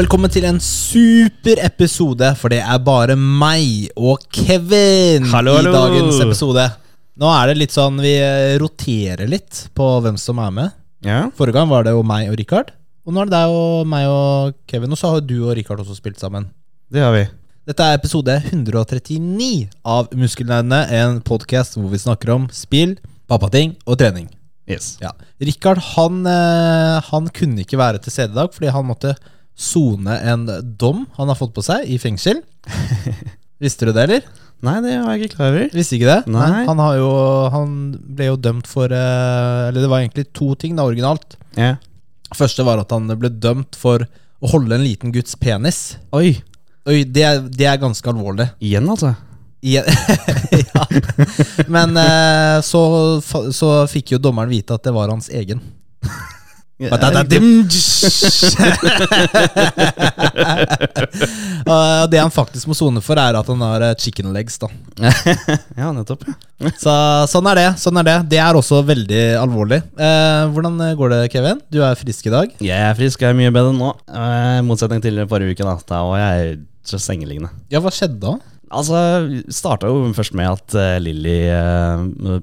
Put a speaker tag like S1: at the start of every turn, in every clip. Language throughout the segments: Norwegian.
S1: Velkommen til en super episode, for det er bare meg og Kevin
S2: Hallo, hallo.
S1: i dagens episode. Nå er det litt sånn vi eh, roterer litt på hvem som er med.
S2: Ja.
S1: Forrige gang var det jo meg og Richard, og nå er det deg og meg og Kevin. Og så har jo du og Richard også spilt sammen.
S2: Det har vi.
S1: Dette er episode 139 av Muskelnerdene, en podkast hvor vi snakker om spill, pappating og trening.
S2: Yes.
S1: Ja. Richard han, eh, han kunne ikke være til stede i dag fordi han måtte sone en dom han har fått på seg i fengsel. Visste du det, eller?
S2: Nei, det var jeg ikke klar over.
S1: Visste ikke det?
S2: Nei.
S1: Han, har jo, han ble jo dømt for eh, Eller det var egentlig to ting da, originalt.
S2: Ja.
S1: Første var at han ble dømt for å holde en liten gutts penis.
S2: Oi.
S1: Oi, det, er- det er ganske alvorlig.
S2: Igjen, altså.
S1: Igjen- ja. Men eh, så, fa- så fikk jo dommeren vite at det var hans egen. Og Eh, det han faktisk må sone for, er at han har eh, chicken legs. da
S2: Ja, nettopp. ja.
S1: Så Sånn er det. sånn er Det Det er også veldig alvorlig. Eh, hvordan eh, går det, Kevin? Du er frisk i dag.
S2: Jeg er frisk, jeg er mye bedre nå. Eh, I motsetning til forrige uke, da. Da var jeg så sengeliggende.
S1: Ja, hva skjedde da?
S2: Altså, starta jo først med at eh, Lilly eh,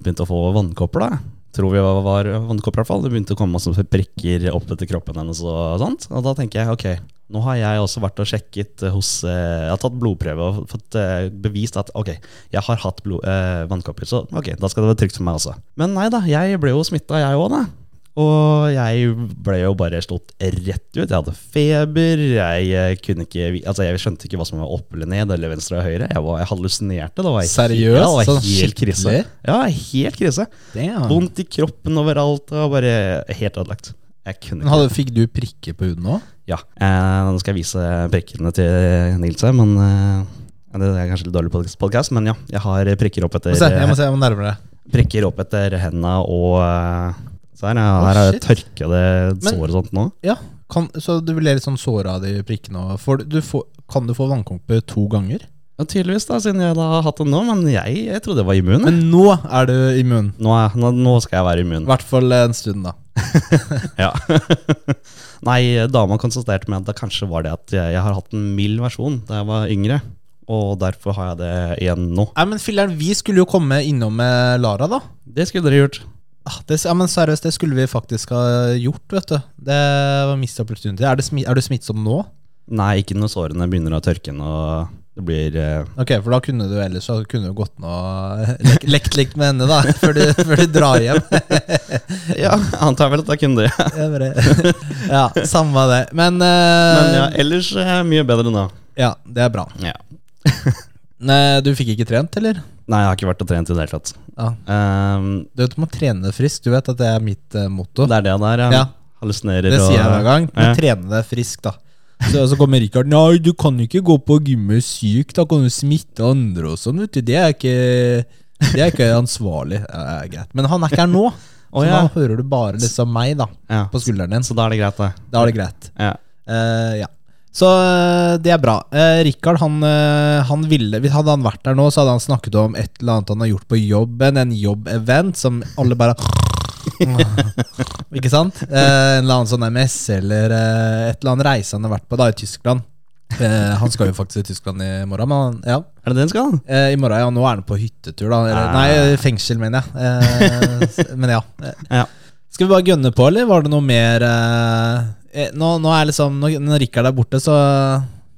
S2: begynte å få vannkopper, da. Tror vi var, var vannkopper, i hvert fall. Det begynte å komme masse prikker opp etter kroppen hennes og sånt. Og da tenker jeg ok, nå har jeg også vært og sjekket eh, hos eh, Jeg har tatt blodprøve og fått eh, bevist at ok, jeg har hatt blod, eh, vannkopper, så ok, da skal det være trygt for meg også. Men nei da, jeg ble jo smitta, jeg òg, da. Og jeg ble jo bare slått rett ut. Jeg hadde feber. Jeg eh, kunne ikke vi- Altså jeg skjønte ikke hva som var opp eller ned, eller venstre og høyre. Jeg, var, jeg hallusinerte. Det var helt-
S1: Seriøst?
S2: Ja, det var
S1: Sånn
S2: helt krise.
S1: skikkelig? Ah.
S2: Ja, helt krise.
S1: Damn.
S2: Vondt i kroppen overalt. Og bare helt ødelagt. Jeg kunne
S1: Men
S2: ikke
S1: hadde, fikk du prikker på huden òg?
S2: Ja. Eh, nå skal jeg vise prikkene til Nils her, men eh, det er kanskje litt dårlig podkast, men ja. Jeg har prikker opp etter
S1: Må se, Jeg må se, jeg må nærmere.
S2: prikker opp etter henda og eh, så her, ja,
S1: Å,
S2: her har jeg
S1: shit.
S2: tørkede
S1: Men-
S2: sår og sånt nå.
S1: Ja, kan, Så du ble litt sånn såra av de prikkene? og får du- du får, kan du få vannkopper to ganger?
S2: Ja, tydeligvis, da, siden jeg da har hatt det nå. Men jeg, jeg trodde jeg var immun. jeg.
S1: Men nå er du immun.
S2: nå, er, nå, nå skal jeg være
S1: I
S2: immun.
S1: hvert fall en stund, da.
S2: Ja. Nei, dama konstaterte med at det kanskje var det at jeg, jeg har hatt en mild versjon da jeg var yngre. Og derfor har jeg det igjen nå.
S1: Nei, men filler'n, vi skulle jo komme innom med Lara, da.
S2: Det skulle dere gjort.
S1: Ah, det, ja, men seriøst, det skulle vi faktisk ha gjort, vet du. Det var mist opportunity. Er, det smi, er du smittsom nå?
S2: Nei, ikke når sårene begynner å tørke og det blir eh,
S1: Ok, for da kunne du ellers så kunne du gått ned og lek- lekt litt med henne, da, før du, før du drar hjem.
S2: Ja, antar vel at jeg kunne det.
S1: Jeg bare- ja, samme det. Men,
S2: Men ja,
S1: eh,
S2: ellers er jeg mye bedre nå.
S1: ja, det er bra.
S2: Ja.
S1: Nei, Du fikk ikke trent, eller?
S2: Nei, jeg har ikke vært og trent i det hele tatt.
S1: Ja.
S2: Ehm,
S1: Du vet, du må trene deg frisk. Du vet at det er mitt eh, motto.
S2: det er det der,
S1: Ja.
S2: Hallusinerer
S1: Det sier jeg hver gang. Men
S2: Ja.
S1: trene deg frisk, da. Så, så kommer Richard Nei, du kan ikke gå på gymmet syk. Da kan du smitte andre og sånn. vet du Det er ikke, det er ikke ansvarlig. Ja, ja, greit. Men han er ikke her nå.
S2: Å,
S1: så
S2: ja.
S1: da hører du bare liksom meg da
S2: Ja.
S1: på skulderen din.
S2: Så da er det greit, det.
S1: Da er det greit.
S2: Ja.
S1: Eh, ja. Så eh, det er bra. Eh, Richard, han, eh, han ville hvis Hadde han vært der nå, så hadde han snakket om et eller annet han har gjort på jobben. En jobbevent som alle bare Ikke sant? Eh, en eller annen sånn MS eller eh, et eller annet reise han har vært på da i Tyskland. Eh, han skal jo faktisk til Tyskland i morgen, men han, ja.
S2: Er det det den skal?
S1: Eh, I morgen, ja. Nå er han på hyttetur, da. Eller,
S2: Ah.
S1: nei, fengsel, mener jeg. Eh, s- men ja. Eh,
S2: Ja.
S1: Skal vi bare gønne på, eller var det noe mer eh, eh, nå, nå er liksom Når, når Rikard er borte, så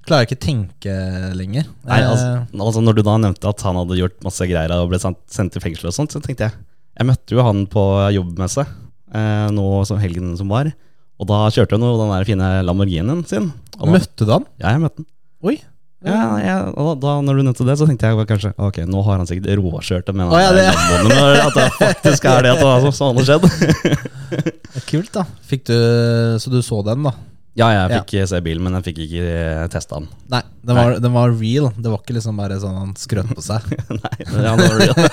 S1: klarer jeg ikke tenke lenger.
S2: Nei, altså,
S1: Eh,
S2: altså Når du da nevnte at han hadde gjort masse greier og ble sendt, sendt til fengsel og sånt, så tenkte jeg Jeg møtte jo han på jobbmesse eh, nå som helgen som var. Og da kjørte han jo den der fine Lamborghinien sin. Og da,
S1: Møtte du han?
S2: ja, jeg møtte han.
S1: Oi.
S2: Ja, jeg, og da, da når du nevnte det, så tenkte jeg bare kanskje Ok, nå har han sikkert råkjørt det med den
S1: Å, ja,
S2: der
S1: det-
S2: Lamboen, men At det faktisk er det at det har sånn skjedd.
S1: Ja, Kult, da. Fikk du, så du så den, da?
S2: Ja, jeg fikk se bilen, men jeg fikk ikke eh, testa den.
S1: Nei, den var, den var real. Det var ikke liksom bare sånn han skrøt på seg.
S2: Nei, ja, det var det.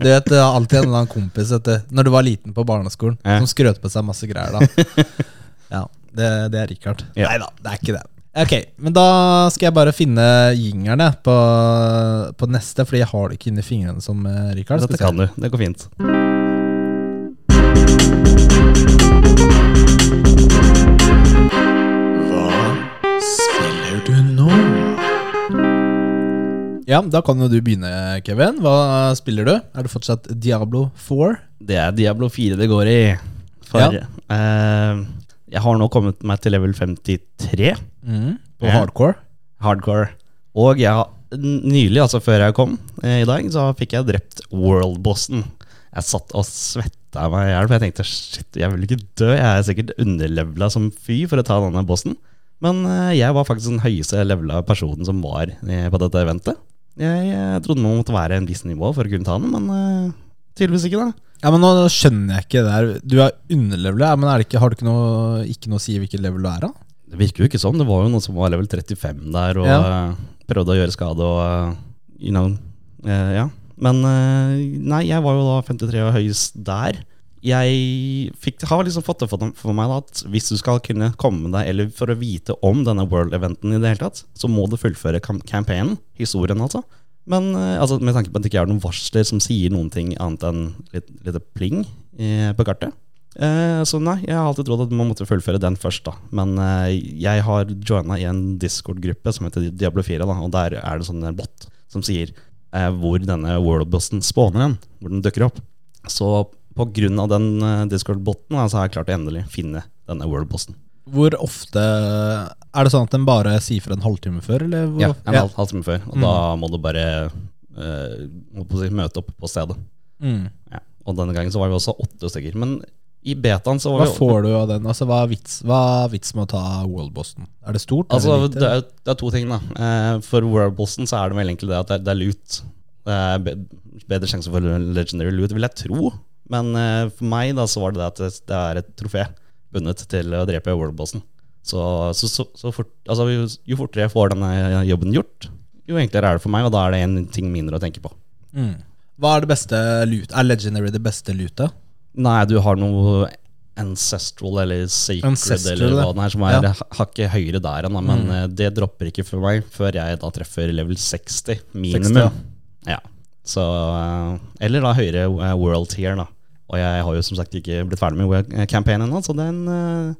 S1: Du vet, det var alltid en eller annen kompis vet du, Når du var liten på barneskolen
S2: Ja.
S1: Som skrøt på seg masse greier da Ja, det, det er Richard
S2: Ja.
S1: Neida, det er ikke det Ok, men da skal jeg bare finne jingerne på, på neste Fordi jeg har det ikke inni fingrene som eh, Richard
S2: Dette
S1: skal
S2: kan du. Det går fint.
S3: Hva
S1: Ja, Da kan jo du begynne, Kevin. Hva spiller du? Er det fortsatt Diablo 4?
S2: Det er Diablo 4 det går i. For
S1: Ja.
S2: eh, jeg har nå kommet meg til level 53,
S1: På
S2: Mm. Ja.
S1: hardcore?
S2: hardcore. Og jeg har n- nylig, altså før jeg kom eh, i dag, så fikk jeg drept worldbossen. Jeg satt og svetta meg i hjel, for jeg tenkte shit, jeg vil ikke dø. Jeg er sikkert underlevela som fy for å ta denne bossen. Men eh, jeg var faktisk den høyeste levela personen som var eh, på dette eventet. Jeg, jeg trodde man måtte være en viss nivå for å kunne ta den, men eh, tydeligvis ikke, da.
S1: Ja, men Nå skjønner jeg ikke det her. Du er underlevela, men er det ikke, har du ikke noe, ikke noe å si hvilket level du er av?
S2: Det virker jo ikke sånn. Det var jo noen som var level 35 der og
S1: Ja.
S2: eh, prøvde å gjøre skade og eh, you know, eh, ja. Men eh, nei, jeg var jo da 53 og høyest der. Jeg fikk, har liksom fått det for, for meg da, at hvis du skal kunne komme deg, eller for å vite om denne World-eventen i det hele tatt, så må du fullføre kam campaignen, historien altså. Men eh, altså, med tanke på at det ikke er noen varsler som sier noen ting annet enn litt, litt pling eh, på kartet, Eh, så nei, jeg har alltid trodd at man måtte fullføre den først, da. Men eh, jeg har joina i en Discord-gruppe som heter Diablo 4, da, og der er det sånn en bot som sier eh, hvor denne worldbusten spawner hen. Hvor den dukker opp. Så på grunn av den eh, Discord-boten da, så har jeg klart å endelig finne denne worldbusten.
S1: Hvor ofte Er det sånn at den bare sier fra en halvtime før, eller? Hvor, Mm.
S2: Ja, en halv, halvtime før. Og da må du bare eh, holdt på å si, møte opp på stedet.
S1: Mm.
S2: Ja. Og denne gangen så var vi også åtte stykker. Men i betaen så var
S1: Hva
S2: vi
S1: får du av den? Altså, hva er vits, hva er vits med å ta Worldbossen? Er det stort?
S2: Altså,
S1: er det
S2: det er, det er to ting, da. Eh, For Worldbossen så er det vel egentlig det at det er, det er loot. Det er be- bedre sjanse for legendary loot, vil jeg tro. Men eh, for meg da så var det det at det- det er et trofé bundet til å drepe Worldbossen. Så, så, så, så fort, altså, jo, jo fortere jeg får denne jobben gjort, jo enklere er det for meg, og da er det en ting mindre å tenke på.
S1: mm. Hva er det beste lut? Er Legendary det beste lutet?
S2: Nei, du har noe ancestral eller sacred
S1: Ancestral,
S2: eller hva
S1: ja.
S2: den er, som er
S1: Ja. Mm.
S2: hakket høyere der enn, da, men eh, det dropper ikke for meg før jeg da treffer level 60,
S1: 60, ja.
S2: minimum. ja. Så, eh, eller da høyere eh, world tier, da. Og jeg har jo som sagt ikke blitt ferdig med world- eh, campaignen ennå, så den eh,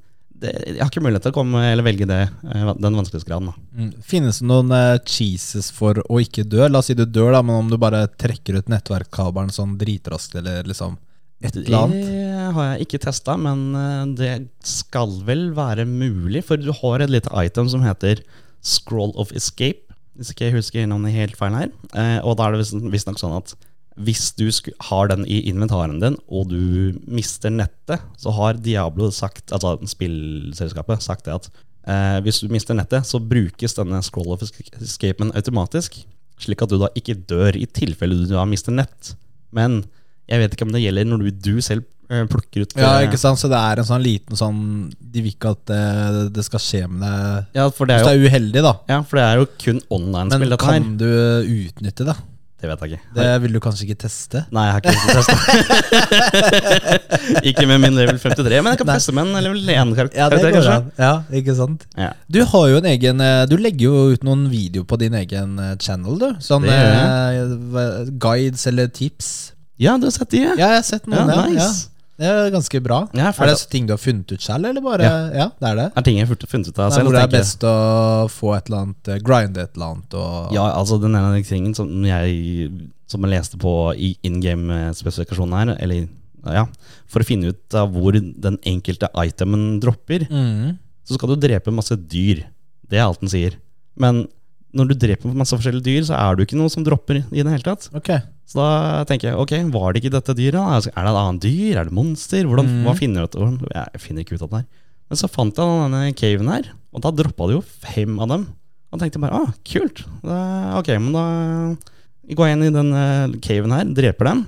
S2: det, Jeg har ikke mulighet til å komme eller velge det, eh, den vanskelighetsgraden, da.
S1: Mm. Finnes det noen eh, cheeses for å ikke dø? La oss si du dør, da, men om du bare trekker ut nettverkkabelen sånn dritraskt, eller liksom et eller annet?
S2: Det har jeg ikke testa, men eh, det skal vel være mulig. For du har et lite item som heter Scroll of Escape. Hvis ikke jeg husker navnet helt feil her. Eh, Og da er det visst- visstnok sånn at hvis du sku- har den i inventaren din, og du mister nettet, så har Diablo sagt, altså spillselskapet, sagt det at eh, hvis du mister nettet, så brukes denne scroll of esca- escapen automatisk, slik at du da ikke dør i tilfelle du da mister nett. Men jeg vet ikke om det gjelder når du, du selv eh, plukker ut
S1: Ja,
S2: eh,
S1: ikke sant? Så det er en sånn liten sånn De vil ikke at det, det skal skje med deg
S2: Ja, for det
S1: Hvis
S2: er
S1: du
S2: jo,
S1: er uheldig, da.
S2: ja, for det er jo kun online-spill,
S1: Men
S2: dette her.
S1: kan du utnytte det?
S2: Det vet jeg ikke.
S1: Det vil du kanskje ikke teste?
S2: Nei, jeg har ikke lyst til å teste. ikke med min level 53, men jeg kan teste med en level 1-karakter,
S1: Ja, det går
S2: kanskje.
S1: an. Ja, ikke sant?
S2: Ja.
S1: Du har jo en egen eh, Du legger jo ut noen videoer på din egen eh, channel, du. Sånn
S2: Det gjør
S1: eh, hva- guides eller tips.
S2: ja, du har sett de, ja.
S1: Ja, jeg har sett
S2: Ja,
S1: noen. Ja, ja.
S2: nice.
S1: Det er ganske bra.
S2: Ja, jeg
S1: er
S2: føler
S1: det ting du har funnet ut selv, eller bare Ja,
S2: Ja.
S1: det er det.
S2: Er ting jeg har funnet ut av
S1: Nei,
S2: selv?
S1: hvor det er
S2: tenker jeg.
S1: best å få et eller annet eh, Grinde et eller annet og
S2: Ja, altså den ene av de tingen som jeg, som jeg leste på i in game-spesifikasjonen her, eller ja, for å finne ut av hvor den enkelte itemen dropper,
S1: Mhm.
S2: så skal du drepe masse dyr. Det er alt den sier. Men når du dreper masse forskjellige dyr, så er du ikke noe som dropper i det hele tatt.
S1: Ok.
S2: Så da tenker jeg, ok, var det ikke dette dyret? da? Altså, Er det et annet dyr? Er det monster? Hvordan, Hva finner du ut? Hvordan, jeg finner ikke ut av det her. Men så fant jeg denne caven her, og da droppa det jo fem av dem. Og tenkte bare, ah, kult. Da, ok, men da går jeg inn i den eh, caven her, dreper dem.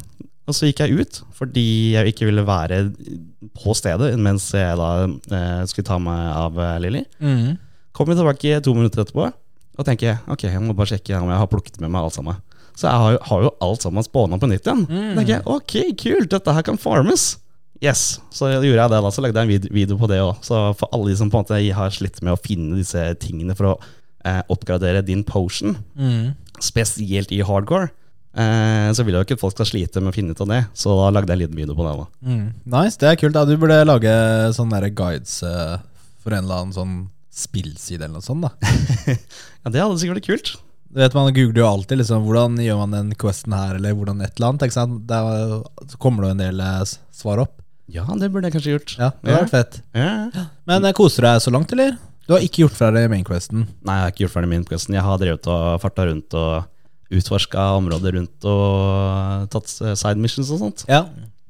S2: Og så gikk jeg ut, fordi jeg ikke ville være på stedet mens jeg da eh, skulle ta meg av eh, Lilly.
S1: Mhm.
S2: Kommer tilbake to minutter etterpå og tenker ok, jeg må bare sjekke om jeg har plukket med meg alt sammen. Så jeg har jo, har jo alt sammen spåna på nytt igjen.
S1: Mm.
S2: Da tenker jeg, ok, kult, dette her kan farmes. Yes, Så gjorde jeg det da, så lagde jeg en vid- video på det òg. Så for alle de som på en måte har slitt med å finne disse tingene for å eh, oppgradere din potion,
S1: Mhm.
S2: spesielt i hardcore, eh, så vil jeg jo ikke at folk skal slite med å finne ut av det. Så da lagde jeg en liten video på det. da
S1: Mhm. Nice, det er kult. Ja, du burde lage sånne der guides eh, for en eller annen sånn spillside eller noe sånt, da.
S2: Ja, Det hadde sikkert vært kult.
S1: Du vet, Man googler jo alltid liksom, hvordan gjør man den questen her, eller hvordan et eller annet. ikke sant? Der så kommer det jo en del eh, s- svar opp.
S2: Ja, det burde jeg kanskje gjort.
S1: Ja, det har vært fett.
S2: Ja, ja.
S1: Men eh, koser du deg så langt, eller? Du har ikke gjort fra deg mainquesten.
S2: Nei, jeg har ikke gjort ferdig min podcasten. Jeg har drevet og farta rundt og utforska områder rundt og tatt eh, side missions og sånt.
S1: Ja.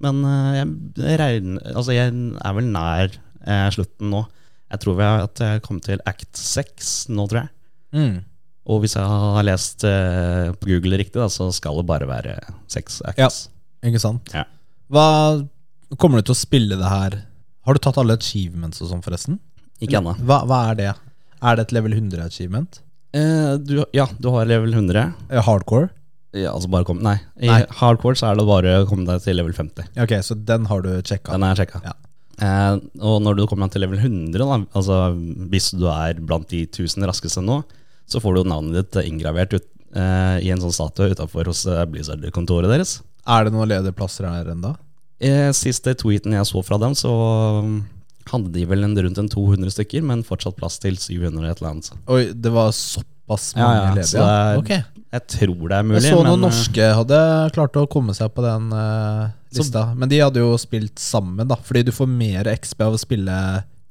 S2: Men eh, jeg, regner, altså jeg er vel nær eh, slutten nå. Jeg tror vi har, at jeg kom til act 6 nå, tror jeg.
S1: Mm.
S2: Og hvis jeg har lest eh, på Google riktig, da, så skal det bare være seks
S1: Ja.
S2: acts.
S1: Ikke sant?
S2: Ja.
S1: Hva Kommer du til å spille det her? Har du tatt alle achievements og sånn, forresten?
S2: Ikke ennå.
S1: Hva, hva er det? Er det et level 100-achievement?
S2: Eh, du- ja, du har level 100.
S1: Eh, Hardcore?
S2: Ja, altså bare kom, nei. I
S1: Nei.
S2: hardcore så er det bare å komme deg til level 50.
S1: Ja, Ok, så den har du sjekka?
S2: Den er sjekka.
S1: Ja.
S2: Eh, og når du kommer til level 100, da, altså hvis du er blant de 1000 raskeste nå, så får du navnet ditt inngravert ut, eh, i en sånn statue utafor hos eh, Blizzard-kontoret deres.
S1: Er det noen ledige plasser her ennå?
S2: Eh, siste tweeten jeg så fra dem, så mm, hadde de vel en, rundt en 200 stykker, men fortsatt plass til 700 et eller annet.
S1: Oi, det var såpass mange
S2: Ja, ja,
S1: ledige?
S2: så det er
S1: Ok.
S2: Jeg tror det er mulig,
S1: Jeg så noen
S2: men, eh,
S1: norske hadde klart å komme seg på den eh,
S2: Så-
S1: lista. Men de hadde jo spilt sammen, da. Fordi du får mer XB av å spille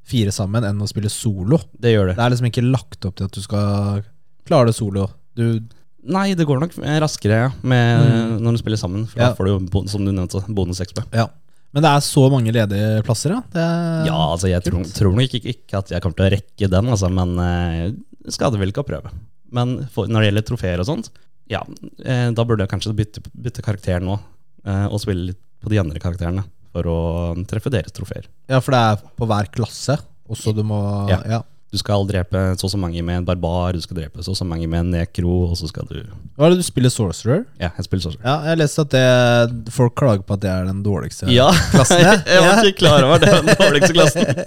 S1: fire sammen enn å spille solo.
S2: det gjør det.
S1: Det er liksom ikke lagt opp til at du skal klare det solo. Du,
S2: Nei, det går nok eh, raskere ja, med, når du spiller sammen. For
S1: Mm. Ja.
S2: da får du jo, bo- som du nevnte, bonus XP.
S1: ja. Men det er så mange ledige plasser, ja. Det er,
S2: Ja, altså jeg tror,
S1: Eh, kult.
S2: tror nok ikke, ikke at jeg kommer til å rekke den, altså, men eh, skader vel ikke å prøve. Men for, når det gjelder trofeer og sånt, ja, eh, da burde jeg kanskje bytte, bytte karakter nå. Eh, og spille litt på de andre karakterene for å um, treffe deres trofeer.
S1: ja, for det er på hver klasse. Også du må ja.
S2: Ja. Du skal drepe så og så mange med en barbar, du skal drepe så og så mange med en nekro, og så skal du
S1: Hva er det du spiller Sorcerer?
S2: Ja, jeg spiller sånn.
S1: Ja, jeg leste at det, folk klager på at det er den dårligste.
S2: Ja,
S1: Klassen, ja.
S2: jeg var ikke klar over det. var Den dårligste klassen.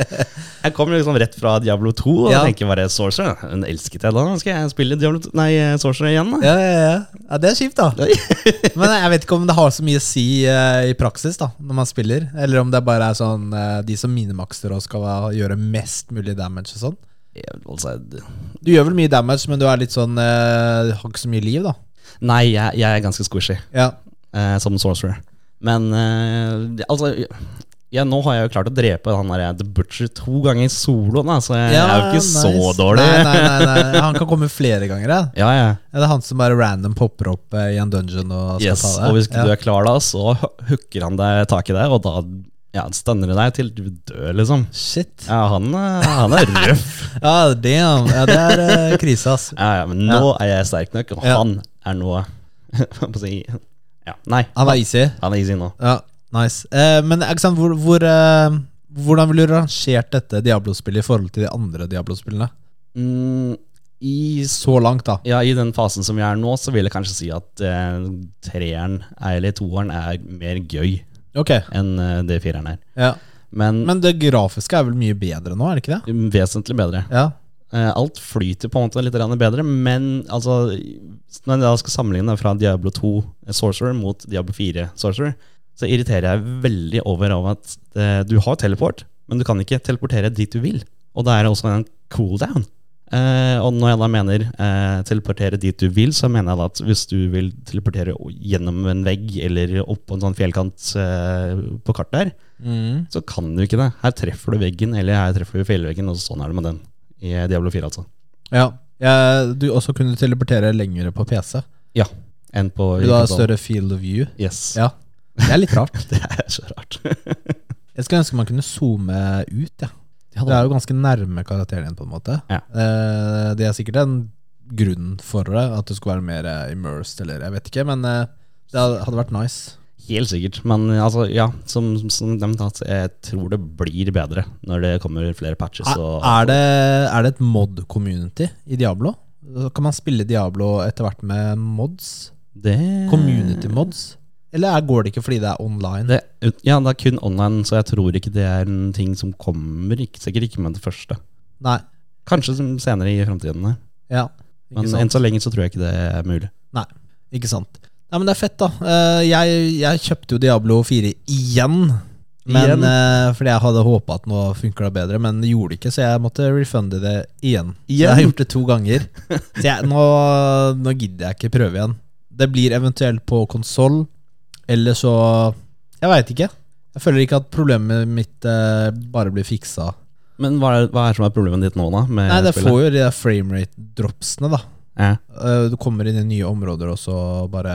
S2: Jeg kom liksom rett fra Diablo 2 og
S1: Ja.
S2: tenker bare Sorcerer. Hun elsket jeg da. Skal jeg spille Diablo 2? Nei, Sorcerer igjen, da?
S1: Ja, ja, ja. ja, det er kjipt, da. Men jeg vet ikke om det har så mye å si eh, i praksis da når man spiller. Eller om det bare er sånn eh, de som minimakster og skal ha- gjøre mest mulig damage og sånn.
S2: Jeg- Altså, d-
S1: Du gjør vel mye damage, men du er litt sånn eh, Har ikke så mye liv, da.
S2: nei, jeg, jeg er ganske squishy
S1: Ja,
S2: eh, som Sorcerer. Men eh, det- altså ja, nå har jeg jo klart å drepe han der The Butcher to ganger solo, da, så jeg er jo ikke så
S1: nice.
S2: dårlig.
S1: Nei, nei, nei, nei. Han kan komme flere ganger. Ja.
S2: Ja, ja.
S1: Ja, Det er han som bare random popper opp eh, i en dungeon og skal
S2: Yes,
S1: ta det.
S2: og hvis
S1: ja.
S2: ikke du er klar da, så hooker han deg tak i deg, og da ja, stønner det deg til du dør, liksom.
S1: Shit.
S2: Ja, han, eh, han er røff.
S1: Ja, damn. Ja, det er eh, krise, ass.
S2: Ja, ja, men nå er jeg sterk nok, og
S1: Ja.
S2: han er nå Hva på å si ja, Nei,
S1: Han var easy.
S2: han er easy nå.
S1: Ah. Ja, nice. Eh, men ikke sant, hvor, hvor, eh, hvordan ville du rangert dette Diablo-spillet i forhold til de andre Diablo-spillene?
S2: Mm, i, s-
S1: Så langt, da.
S2: ja, I den fasen som vi er nå, så vil jeg kanskje si at eh, treeren, eller toeren, er mer gøy
S1: Ok,
S2: enn eh, det fireren er.
S1: ja.
S2: Men,
S1: Men det grafiske er vel mye bedre nå, er det ikke det?
S2: vesentlig bedre.
S1: Ja,
S2: Eh, alt flyter på en måte litt grann bedre, men altså Når jeg da skal sammenligne det fra Diablo 2 Sorcerer mot Diablo 4 Sorcerer, så irriterer jeg veldig over av at eh, du har teleport, men du kan ikke teleportere dit du vil. Og det er også en cooldown. Eh, og når jeg da mener eh, teleportere dit du vil, så mener jeg da at hvis du vil teleportere o- gjennom en vegg eller opp på en sånn fjellkant eh, på kartet her,
S1: Mm.
S2: så kan du ikke det. Her treffer du veggen, eller her treffer du fjellveggen, og sånn er det med den i Diablo 4, altså.
S1: ja. Eh, du også kunne teleportere lengre på PC.
S2: Ja, enn på
S1: Du har større field of view.
S2: Yes.
S1: Ja, Det er litt rart.
S2: Det er så rart.
S1: Jeg skulle ønske man kunne zoome ut. Ja.
S2: Ja,
S1: Det er jo ganske nærme karakteren din, på en måte.
S2: Ja.
S1: Eh, det er sikkert en grunn for det, at du skulle være mer eh, immersed, eller jeg vet ikke, men eh, det hadde vært nice.
S2: Helt sikkert. Men altså, ja, som, som nevnt, at jeg tror det blir bedre når det kommer flere patches.
S1: Er,
S2: Og,
S1: er, det, er det et mod-community i Diablo? Kan man spille Diablo etter hvert med mods?
S2: det
S1: Community mods? Eller er, går det ikke fordi det er online?
S2: Eh. Det, ja, det er kun online, så jeg tror ikke det er en ting som kommer. Ikke, sikkert ikke med det første.
S1: Nei.
S2: Kanskje som senere i framtiden.
S1: Ja. Ikke
S2: Men
S1: sant.
S2: enn så lenge så tror jeg ikke det er mulig.
S1: Ikke sant. Nei, men det er fett, da. Eh, Jeg, jeg kjøpte jo Diablo 4 igjen Men,
S2: Igjen.
S1: eh, fordi jeg hadde håpa at nå funker det bedre, men det gjorde det ikke, så jeg måtte refunde det igjen. Så jeg har
S2: Igjen?
S1: gjort det to ganger. Så jeg, nå, nå gidder jeg ikke prøve igjen. Det blir eventuelt på konsoll, eller så Jeg veit ikke. Jeg føler ikke at problemet mitt eh, bare blir fiksa.
S2: Men hva er, hva er som er problemet ditt nå, da? Med
S1: Nei, det
S2: spillet?
S1: får jo de der framerate-dropsene, da.
S2: Ja.
S1: Eh, Du kommer inn i nye områder, og så bare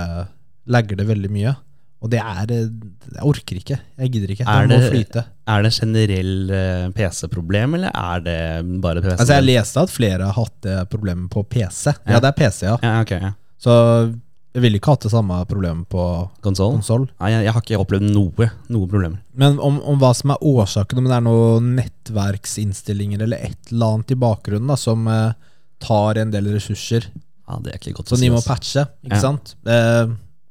S1: lagger det veldig mye. Og det er eh, Jeg orker ikke. Jeg gidder ikke.
S2: Er
S1: Det må
S2: det- Altså-
S1: flyte.
S2: Er det generell eh, PC-problem, eller er det bare PC?
S1: Altså Jeg leste at flere har hatt det problemet på PC. Ja,
S2: Ja.
S1: det er PC, ja.
S2: ja, ok, ja.
S1: Så jeg ville ikke hatt det samme problemet på
S2: Konsolen?
S1: konsoll.
S2: Nei, jeg, jeg har ikke opplevd noe, noen problemer.
S1: Men om, om hva som er årsaken, om det er noen nettverksinnstillinger eller et eller annet i bakgrunnen da, som eh, tar en del ressurser,
S2: Ja, det er ikke godt
S1: så
S2: å altså.
S1: de må
S2: ass.
S1: patche, ikke
S2: Ja.
S1: sant? Eh,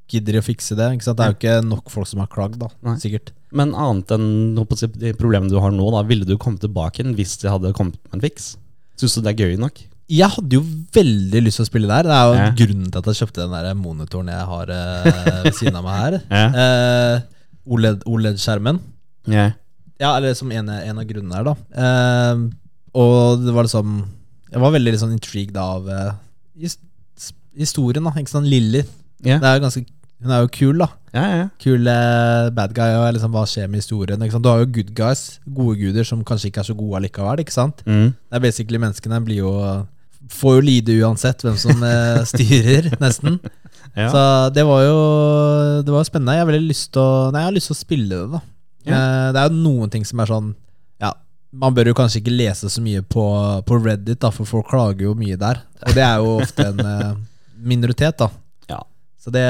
S1: gidder de å fikse det? Ikke sant? Det er jo ikke nok folk som har klagd, da,
S2: Nei.
S1: sikkert.
S2: Men annet enn holdt på å si, de problemene du har nå, da, ville du kommet tilbake igjen hvis det hadde kommet med en fiks? Syns du det er gøy nok?
S1: Jeg hadde jo veldig lyst til å spille der. Det er jo
S2: Ja.
S1: grunnen til at jeg kjøpte den der monitoren jeg har eh, ved siden av meg her.
S2: Ja.
S1: Eh, OLED- OLED-skjermen.
S2: Ja.
S1: E ja, eller som en, en av grunnene her, da. Eh, og det var liksom Jeg var veldig liksom intrigued av eh, his- historien, da. Ikke sant? Lilly.
S2: Ja.
S1: Det er jo ganske, hun er jo kul, da.
S2: Ja, ja.
S1: Kul eh, bad guy, og liksom, hva skjer med historien? Ikke sant? Du har jo good guys, gode guder, som kanskje ikke er så gode allikevel. Ikke sant?
S2: Mm.
S1: Det er basically menneskene blir jo Får jo lide uansett hvem som eh, styrer, nesten.
S2: ja.
S1: Så det var jo Det var jo spennende. Jeg har veldig lyst til å Nei, jeg har lyst til å spille det, da.
S2: Ja.
S1: Eh, Det er jo noen ting som er sånn Ja, man bør jo kanskje ikke lese så mye på, på Reddit, da, for folk klager jo mye der. Og det er jo ofte en eh, minoritet, da.
S2: Ja.
S1: Så det,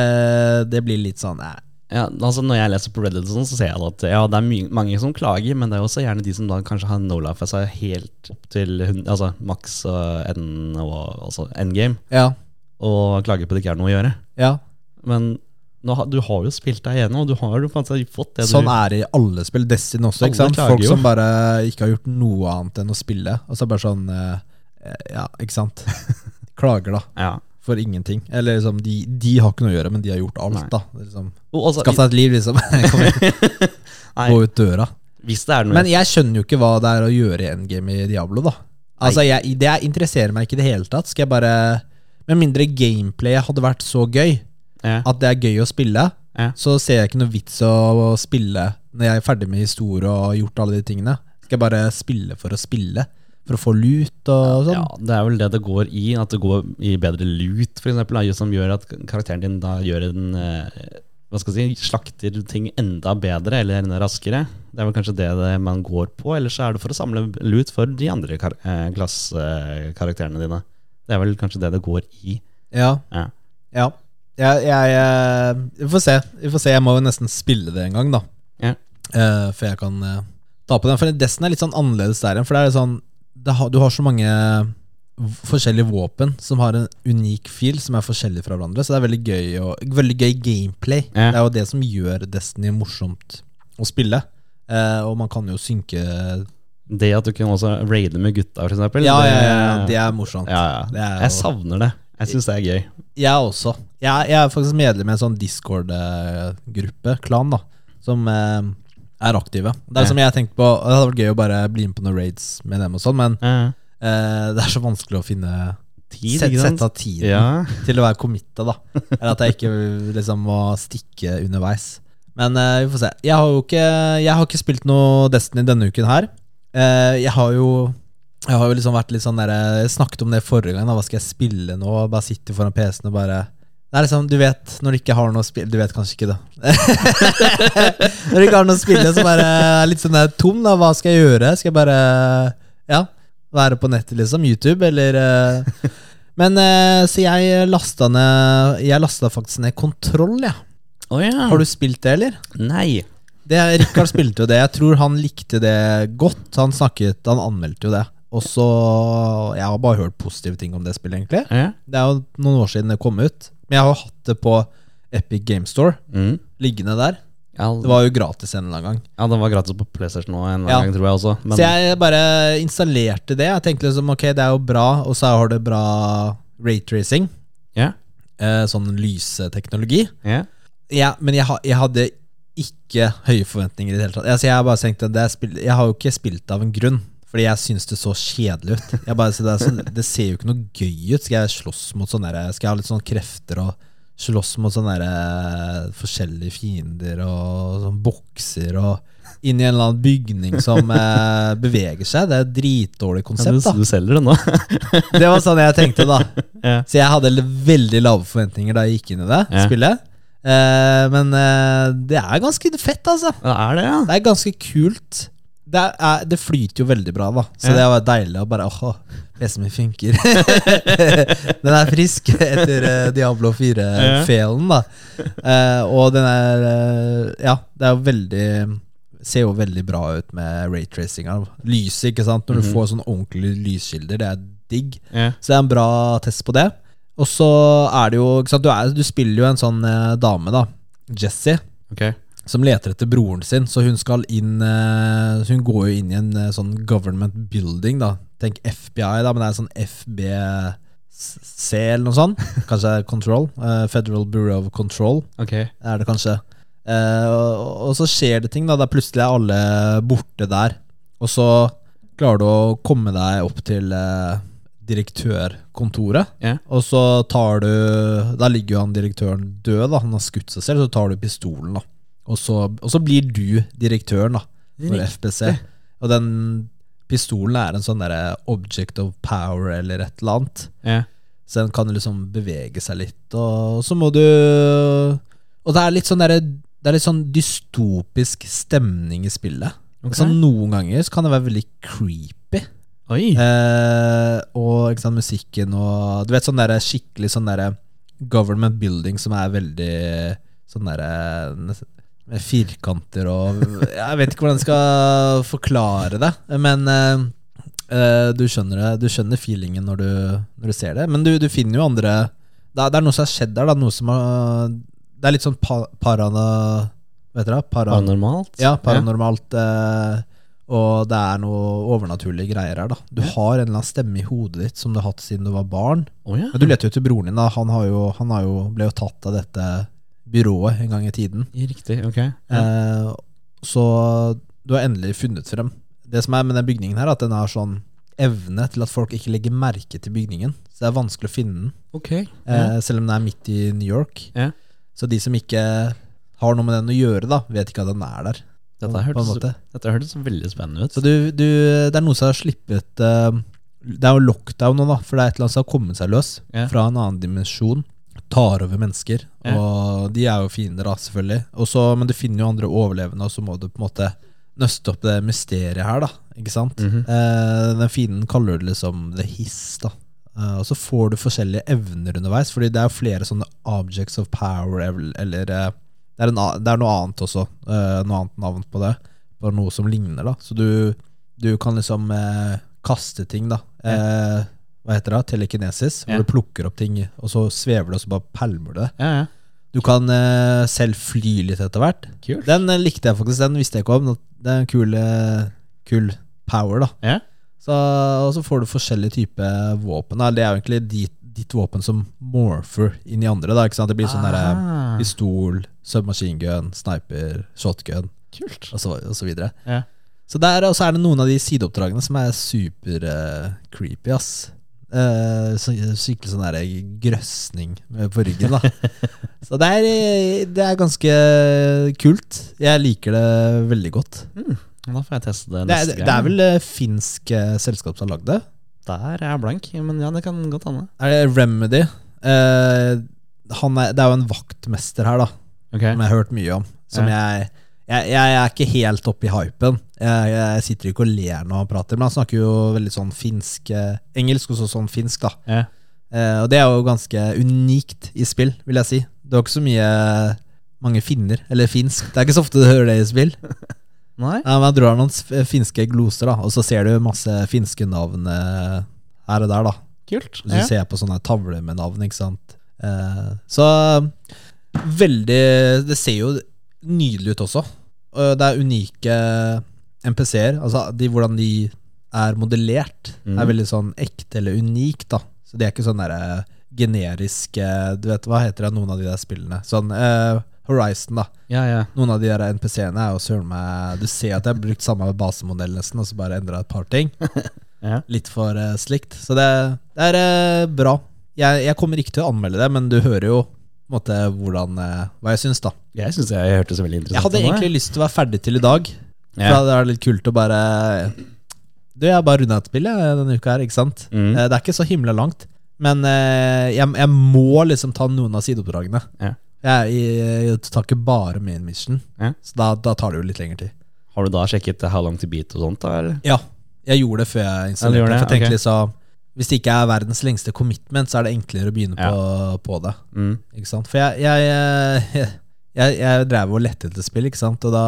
S1: det blir litt sånn eh,
S2: Ja, altså Når jeg leser på Reddit, og sånn, så ser jeg at ja, det er my mange som klager, men det er også gjerne de som da kanskje har no-life seg helt opp til hun- altså, maks og end, og, altså, endgame,
S1: Ja.
S2: og klager på at det ikke er noe å gjøre.
S1: ja.
S2: Men nå, har- du har jo spilt deg igjennom, og du har jo faktisk fått det
S1: Sånn
S2: du
S1: er det i alle spill. Destiny også.
S2: Alle
S1: Ikke sant?
S2: klager
S1: Folk
S2: jo.
S1: som bare ikke har gjort noe annet enn å spille. Og så bare sånn eh, Ja, ikke sant? Klager, da.
S2: ja.
S1: For ingenting. Eller liksom, de, de har ikke noe å gjøre, men de har gjort alt,
S2: Nei.
S1: da. Det er Liksom.
S2: Og også,
S1: Skaff deg et liv, liksom. Kom igjen,
S2: nei,
S1: Gå ut døra.
S2: hvis det er noe
S1: Men jeg skjønner jo ikke hva det er å gjøre i endgame i Diablo, da. Altså, jeg, Det jeg interesserer meg ikke i det hele tatt. Skal jeg bare Med mindre gameplayet hadde vært så gøy
S2: ja,
S1: at det er gøy å spille,
S2: Ja.
S1: så ser jeg ikke noe vits å spille når jeg er ferdig med historie og har gjort alle de tingene. Skal jeg bare spille for å spille? For å få lut og sånn?
S2: ja, Det er vel det det går i, at det går i bedre lut, for eksempel, da, som gjør at karakteren din da gjør en eh, hva skal jeg si, slakter ting enda bedre eller enda raskere. Det er vel kanskje det, det man går på, eller så er det for å samle lut for de andre kar eh, klassekarakterene dine. Det er vel kanskje det det går i.
S1: Ja.
S2: Ja.
S1: Ja. Jeg, jeg, eh, vi får se. Vi får se. Jeg må jo nesten fille det en gang, da.
S2: Ja.
S1: Eh, før jeg kan eh, ta på den. For Dessen er litt sånn annerledes der igjen. For det er litt sånn det har- Du har så mange v- forskjellige våpen som har en unik fil som er forskjellig fra hverandre. Så det er veldig gøy, og, veldig gøy gameplay.
S2: Ja.
S1: Det er jo det som gjør Destiny morsomt å spille. Eh, og man kan jo synke
S2: Det at du kan også raide med gutta, for eksempel.
S1: Ja, ja, ja, det er morsomt.
S2: ja,
S1: Det
S2: ja.
S1: er
S2: Jeg
S1: jo-
S2: savner det. Jeg syns det er gøy.
S1: Jeg også. Jeg, jeg er faktisk medlem i en sånn Discord-gruppe, klan, da, som eh, er aktive. Det
S2: Ja.
S1: er som jeg tenkte på Det hadde vært gøy å bare bli med på noen raids med dem, og sånn men
S2: Ja.
S1: eh, det er så vanskelig å finne
S2: Tid,
S1: Sett-
S2: ikke sant?
S1: Sette av tid
S2: Ja.
S1: til å være committa, da. Eller at jeg ikke liksom må stikke underveis. Men eh, vi får se. Jeg har jo ikke, jeg har ikke spilt noe Destiny denne uken her. Eh, jeg har jo Jeg har jo liksom vært litt sånn der, jeg snakket om det forrige gang. Da. Hva skal jeg spille nå? Bare sitte foran PC-en og bare det er liksom, Du vet når du ikke har noe å spille Du vet kanskje ikke det. når du ikke har noe å spille, så bare er jeg litt sånn der tom. da Hva skal jeg gjøre? Skal jeg bare ja, være på nettet, liksom? YouTube, eller eh, men eh, så jeg lasta ned Jeg lasta faktisk ned Kontroll, jeg.
S2: Å ja.
S1: Har du spilt det, eller?
S2: Nei.
S1: Det, Rikard spilte jo det. Jeg tror han likte det godt. Han snakket, han anmeldte jo det. Og så Jeg har bare hørt positive ting om det spillet, egentlig.
S2: Ja.
S1: Det er jo noen år siden det kom ut. Men jeg har jo hatt det på Epic Game Store.
S2: Mm.
S1: Liggende der.
S2: Ja,
S1: Det var jo gratis en eller annen gang.
S2: Ja, den var gratis på PlayStation nå en
S1: Ja.
S2: gang, tror jeg også. Men
S1: Så jeg bare installerte det. Jeg tenkte liksom ok, det er jo bra, og så har det bra rate-tracing.
S2: ja,
S1: Eh, sånn lyseteknologi.
S2: ja.
S1: Ja, men jeg, ha- jeg hadde ikke høye forventninger i det hele tatt. Altså, jeg, har bare tenkt at det er spill, jeg har jo ikke spilt av en grunn, fordi jeg syns det så kjedelig ut. Jeg bare, så det, er så, det ser jo ikke noe gøy ut. Skal jeg slåss mot sånne der, Skal jeg ha litt sånne krefter og slåss mot sånne der, eh, forskjellige fiender og sånn bokser og inn i en eller annen bygning som eh, beveger seg? Det er et dritdårlig
S2: Ja,
S1: konsept,
S2: du,
S1: da.
S2: du selger det nå.
S1: Det var sånn jeg tenkte da
S2: Ja.
S1: Så jeg hadde l- veldig lave forventninger da jeg gikk inn i det
S2: Ja.
S1: spillet eh, Men eh, det er ganske fett altså
S2: det er det, ja.
S1: Det er ganske kult Det, er, det flyter jo veldig bra da Så
S2: Ja.
S1: det var deilig å bare Åh, PC-en min funker Den er frisk etter eh, Diablo 4-felen da Eh, Og den er eh, Ja, det er jo veldig Ser jo veldig bra ut med raytracinga Lyset, ikke sant?
S2: Mhm.
S1: Når du får sånne ordentlige lyskilder Det er digg
S2: ja.
S1: så det er en bra test på det. Og så er det jo ikke sant, du, er, du spiller jo en sånn eh, dame, da. Jessie.
S2: Ok.
S1: Som leter etter broren sin, så hun skal inn eh, så Hun går jo inn i en eh, sånn government building, da. Tenk FBI, da, men det er sånn FBC eller noe sånt. Kanskje Control. eh, Federal Bureau of Control
S2: Ok.
S1: er det kanskje. Eh, og, og så skjer det ting, da. Der plutselig er alle borte der. Og så klarer du å komme deg opp til eh, direktørkontoret.
S2: Ja.
S1: Og så tar du Da ligger jo han direktøren død, da. Han har skutt seg selv. Så tar du pistolen, da. Og så, og så blir du direktøren, da. For FBC. Og den pistolen er en sånn derre object of power eller et eller annet.
S2: Ja.
S1: Så den kan liksom bevege seg litt, og så må du Og det er litt sånn derre det er litt sånn dystopisk stemning i spillet.
S2: Ok.
S1: Så noen ganger så kan det være veldig creepy.
S2: Oi.
S1: Eh, og ikke sant, musikken og Du vet sånn derre skikkelig sånn derre government building som er veldig sånn derre nest- med firkanter og Jeg vet ikke hvordan jeg skal forklare det, men eh, eh, du skjønner det Du skjønner feelingen når du, når du ser det. Men du, du finner jo andre det er, det er noe som har skjedd der. Da, noe som har, det er litt sånn pa, parana... Vet dere? Para,
S2: Paranormalt?
S1: ja, paranormalt. Eh, og det er noe overnaturlige greier her, da. Du har en eller annen stemme i hodet ditt som du har hatt siden du var barn.
S2: Å ja.
S1: Men du leter jo til broren din, da. Han, har jo, han har jo, ble jo tatt av dette byrået en gang i tiden.
S2: Riktig. Ok.
S1: Eh, så du har endelig funnet frem. Det som er med den bygningen her, er at den har sånn evne til at folk ikke legger merke til bygningen. Så det er vanskelig å finne den,
S2: Ok.
S1: eh, selv om den er midt i New York.
S2: Ja.
S1: Så de som ikke har noe med den å gjøre, da, vet ikke at den er der.
S2: Dette
S1: på en
S2: hørtes,
S1: måte.
S2: dette hørtes veldig spennende ut.
S1: Så du, du, det er noe som har slippet eh, Det er jo lockdown nå, da, for det er et eller annet som har kommet seg løs
S2: Ja.
S1: fra en annen dimensjon. Tar over mennesker,
S2: Ja.
S1: og de er jo fiender, da, selvfølgelig. Og så- men du finner jo andre overlevende, og så må du på en måte nøste opp det mysteriet her, da. Ikke sant?
S2: Mhm.
S1: Eh, den fienden kaller du liksom the hiss, da. Eh, og så får du forskjellige evner underveis, fordi det er jo flere sånne objects of power, ev- eller eh, det, er en, a- det er noe annet også. eh, noe annet navn på det. Bare noe som ligner, da. Så du, du kan liksom eh, kaste ting, da. Eh, hva heter det? Telekinesis. Hvor
S2: Ja.
S1: du plukker opp ting, og så svever det, og så bare pælmer du det.
S2: ja, ja.
S1: Du kan eh, selv fly litt etter hvert.
S2: Kult.
S1: Den eh, likte jeg faktisk, den visste jeg ikke om. Det er en kul, eh, kul power, da.
S2: Ja.
S1: Så, og så får du forskjellige typer våpen. Da. Det er jo egentlig ditt, ditt våpen som morpher inn i andre. Da, ikke sant? Det blir sånn derre
S2: Ah,
S1: pistol, submachine gun, sniper, shotgun
S2: Kult.
S1: og så, og så videre.
S2: Ja.
S1: Så der, og så er det noen av de sideoppdragene som er super eh, creepy, ass. Eh, så, skikkelig sånn der grøsning med- på ryggen, da. så det er, eh, det er ganske kult. Jeg liker det veldig godt.
S2: Da får jeg teste
S1: Det
S2: det
S1: er,
S2: neste gang.
S1: det er vel eh, finsk eh, selskap som har lagd det.
S2: Der er jeg blank, men ja, det kan godt hende.
S1: Er det Remedy? Eh, han er, det er jo en vaktmester her, da.
S2: Ok.
S1: som jeg har hørt mye om. Som jeg, jeg, jeg er ikke helt oppe i hypen. Jeg, jeg sitter ikke og ler når han prater, men han snakker jo veldig sånn finsk eh, Engelsk og så sånn finsk, da.
S2: Ja.
S1: Eh, og det er jo ganske unikt i spill, vil jeg si. Det er ikke så mye mange finner, eller finsk. Det er ikke så ofte du hører det i spill.
S2: Nei?
S1: Ja, men jeg drar noen s- finske gloser, da, og så ser du masse finske navn eh, her og der, da.
S2: Kult.
S1: Hvis du ser på sånne tavler med navn, ikke sant. Eh, så veldig Det ser jo nydelig ut også. Og det er unike NPC-er. Altså de, hvordan de er modellert,
S2: Mm.
S1: er veldig sånn ekte eller unikt, da. Så de er ikke sånn derre generiske Du vet hva heter det, noen av de der spillene? Sånn eh, Horizon, da.
S2: Ja, ja.
S1: Noen av de der NPC-ene er jo søren meg Du ser at jeg har brukt samme basemodell nesten, og så bare endra et par ting.
S2: Ja.
S1: Litt for eh, slikt. Så det, det er eh, bra. Jeg, jeg kommer ikke til å anmelde det, men du hører jo på en måte hvordan eh, hva jeg syns, da.
S2: Jeg syns jeg hørtes veldig interessant
S1: Jeg hadde
S2: ut nå,
S1: egentlig lyst til å være ferdig til i dag. For
S2: Ja.
S1: da er det litt kult å bare Du, jeg har bare runda et spill jeg, denne uka her, ikke sant?
S2: Mm.
S1: Eh, Det er ikke så himla langt. Men eh, jeg, jeg må liksom ta noen av sideoppdragene.
S2: Ja.
S1: Jeg, jeg, jeg tar ikke bare main mission,
S2: Ja.
S1: så da, da tar det jo litt lengre tid.
S2: Har du da sjekket How Long To Beat og sånt? da? eller?
S1: Ja, jeg gjorde det før jeg
S2: Ja, du gjorde
S1: installerte.
S2: det,
S1: det, for jeg tenkte
S2: ok.
S1: liksom, Hvis det ikke er verdens lengste commitment, så er det enklere å begynne
S2: Ja.
S1: på, på det.
S2: Mm.
S1: Ikke sant? For jeg, jeg, jeg, jeg, jeg drev og lette etter spill, ikke sant? og da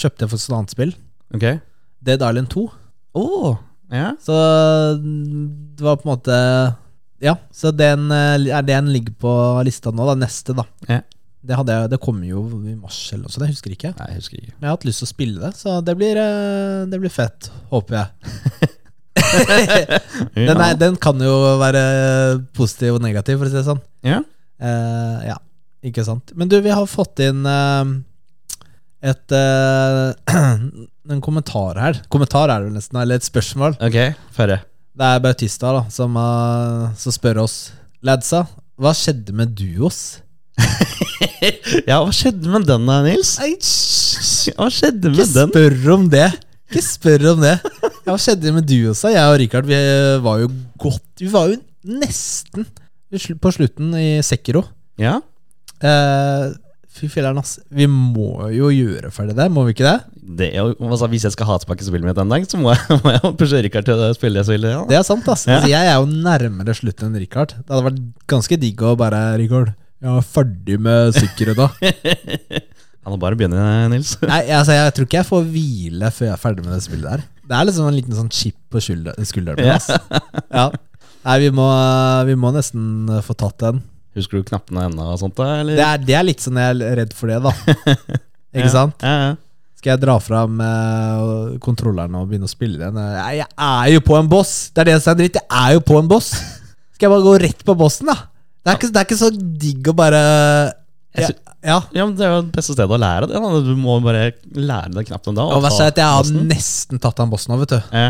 S1: kjøpte jeg faktisk et annet spill.
S2: Ok.
S1: Dead Island 2.
S2: Åh, ja.
S1: Så det var på en måte Ja, så den, eh, er den ligger på lista nå, da. Neste, da.
S2: Ja.
S1: Det, hadde jeg, det kommer jo i mars eller noe sånt, jeg husker ikke.
S2: Nei, jeg husker ikke.
S1: Men jeg har hatt lyst til å spille det, så det blir, eh, det blir fett, håper jeg. Den, er, den kan jo være positiv og negativ, for å si det sånn.
S2: Ja.
S1: Eh, ja, ikke sant. Men du, vi har fått inn eh, et eh, En kommentar her. Kommentar er det vel nesten, eller et spørsmål.
S2: Ok, føre.
S1: Det er Bautista da som, eh, som spør oss. Ladsa, hva skjedde med duos?
S2: Ja, hva skjedde med den da, Nils? Hva skjedde
S1: Ikke
S2: med den?
S1: spør om det! Ikke spør om det. Ja, hva skjedde med duosa? Jeg og Richard vi eh, var jo godt Vi var jo nesten på slutten i Sekiro.
S2: Ja,
S1: Eh, Fy filler'n, ass. Vi må jo gjøre ferdig det, må vi ikke det?
S2: det er jo, altså, hvis jeg skal ha tilbake spillet mitt en dag, så må jeg, må jeg pushe Rikard til å spille det spillet. Ja.
S1: Det er sant, ass. Altså, jeg er jo nærmere slutten enn Richard. Det hadde vært ganske digg å bare Richard, jeg er ferdig med sikkerhet da.
S2: Han må bare begynne, Nils.
S1: Nei, altså, jeg tror ikke jeg får hvile før jeg er ferdig med det spillet der. Det er liksom en liten sånn chip på skulder- skulderen min, ass. Ja. Nei, vi må, vi må nesten eh, få tatt den.
S2: Husker du knappene ennå og sånt da, eller?
S1: Det er, det er litt sånn jeg er redd for det, da. Ikke sant?
S2: Ja, ja.
S1: Skal jeg dra fram eh, kontrolleren og begynne å spille den? Nei, jeg er jo på en boss! Det er det som er dritt. Jeg er jo på en boss! Skal jeg bare gå rett på bossen, da? Det er ikke, det er ikke så digg å bare
S2: Jeg
S1: Ja.
S2: sy-
S1: ja.
S2: Ja, men det er jo det beste stedet å lære det. Da. Du må bare lære deg knappen da.
S1: Og verst er at jeg har
S2: nesten.
S1: nesten tatt den bossen nå, vet du.
S2: Ja.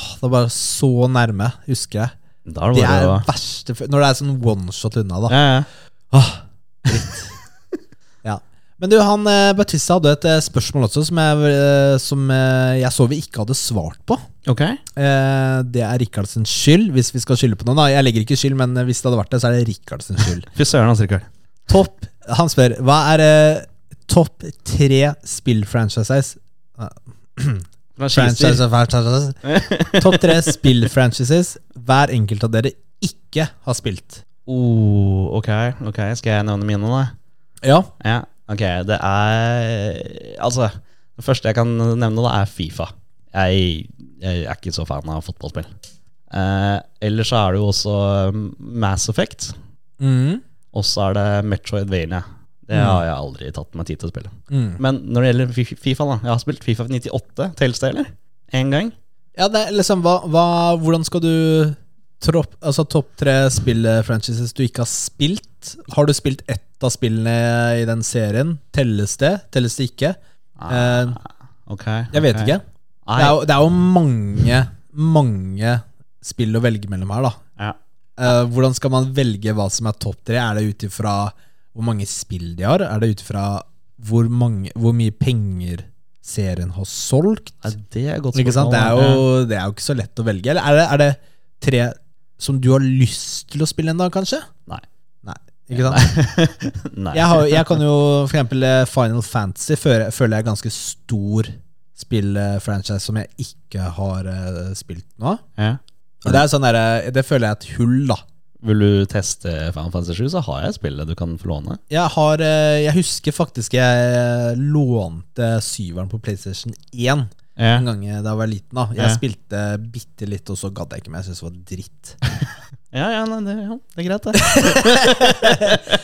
S1: Åh, det er bare så nærme, husker jeg.
S2: Da er
S1: Det
S2: det
S1: er
S2: bare å
S1: det verste for- Når det er sånn oneshot unna, da.
S2: ja, ja.
S1: Åh, dritt. ja. Men du, han eh, Batista hadde et eh, spørsmål også som jeg, eh, som eh, jeg så vi ikke hadde svart på.
S2: Ok.
S1: Eh, det er Rikards skyld, hvis vi skal skylde på noen. da. Jeg legger ikke skyld, men eh, hvis det hadde vært det, så er det Rikards skyld.
S2: Fy søren, altså, Rikard.
S1: Topp, Han spør hva er eh, topp tre spillfranchises
S2: Hva skjer?
S1: Franchise- franchises. Topp tre spillfranchises hver enkelt av dere ikke har spilt.
S2: Oh, ok, ok. Skal jeg nevne mine, da?
S1: Ja,
S2: Ja, ok. Det er Altså, det første jeg kan nevne, da, er Fifa. Jeg, jeg er ikke så fan av fotballspill. Eh, ellers så er det jo også um, Mass Effect.
S1: mm.
S2: Og så er det Metroidvania. Det
S1: Mm.
S2: har jeg aldri tatt meg tid til å spille.
S1: Mm.
S2: Men når det gjelder Fi- Fifa, da. Jeg har spilt Fifa 98. Telles det, eller? Én gang?
S1: ja det er liksom hva, hva, Hvordan skal du tropp, Altså topp tre spillfranchises du ikke har spilt? Har du spilt ett av spillene i den serien? Telles det? Telles det ikke? Eh,
S2: Ok.
S1: jeg vet
S2: Ah, ok.
S1: ikke.
S2: Nei.
S1: Det er, jo, det er jo mange, mange spill å velge mellom her, da.
S2: Ja.
S1: Eh, hvordan skal man velge hva som er topp tre? Er det ut ifra hvor mange spill de har? Er det ut ifra hvor, mange- hvor mye penger serien har solgt?
S2: Nei, Det er et godt
S1: Ikke sant? Det, er
S2: ja.
S1: jo, det er jo ikke så lett å velge. Eller er det, er det tre som du har lyst til å spille en dag, kanskje?
S2: Nei.
S1: Nei, ikke sant?
S2: Nei.
S1: Jeg, har, jeg kan jo for eksempel eh, Final Fantasy føler, føler jeg er ganske stor spillfranchise som jeg ikke har eh, spilt nå.
S2: Ja.
S1: Og det, er sånn der, eh, det føler jeg er et hull, da.
S2: Vil du teste Final Fantasy 7, så har jeg spillet du kan få låne.
S1: Jeg, har, eh, jeg husker faktisk jeg eh, lånte syveren på PlayStation 1
S2: Ja.
S1: en gang jeg- da jeg var liten. da Jeg
S2: Ja.
S1: spilte bitte litt, og så gadd jeg ikke mer. Jeg syntes det var dritt.
S2: Ja, ja, nei, det, ja, det er greit, det.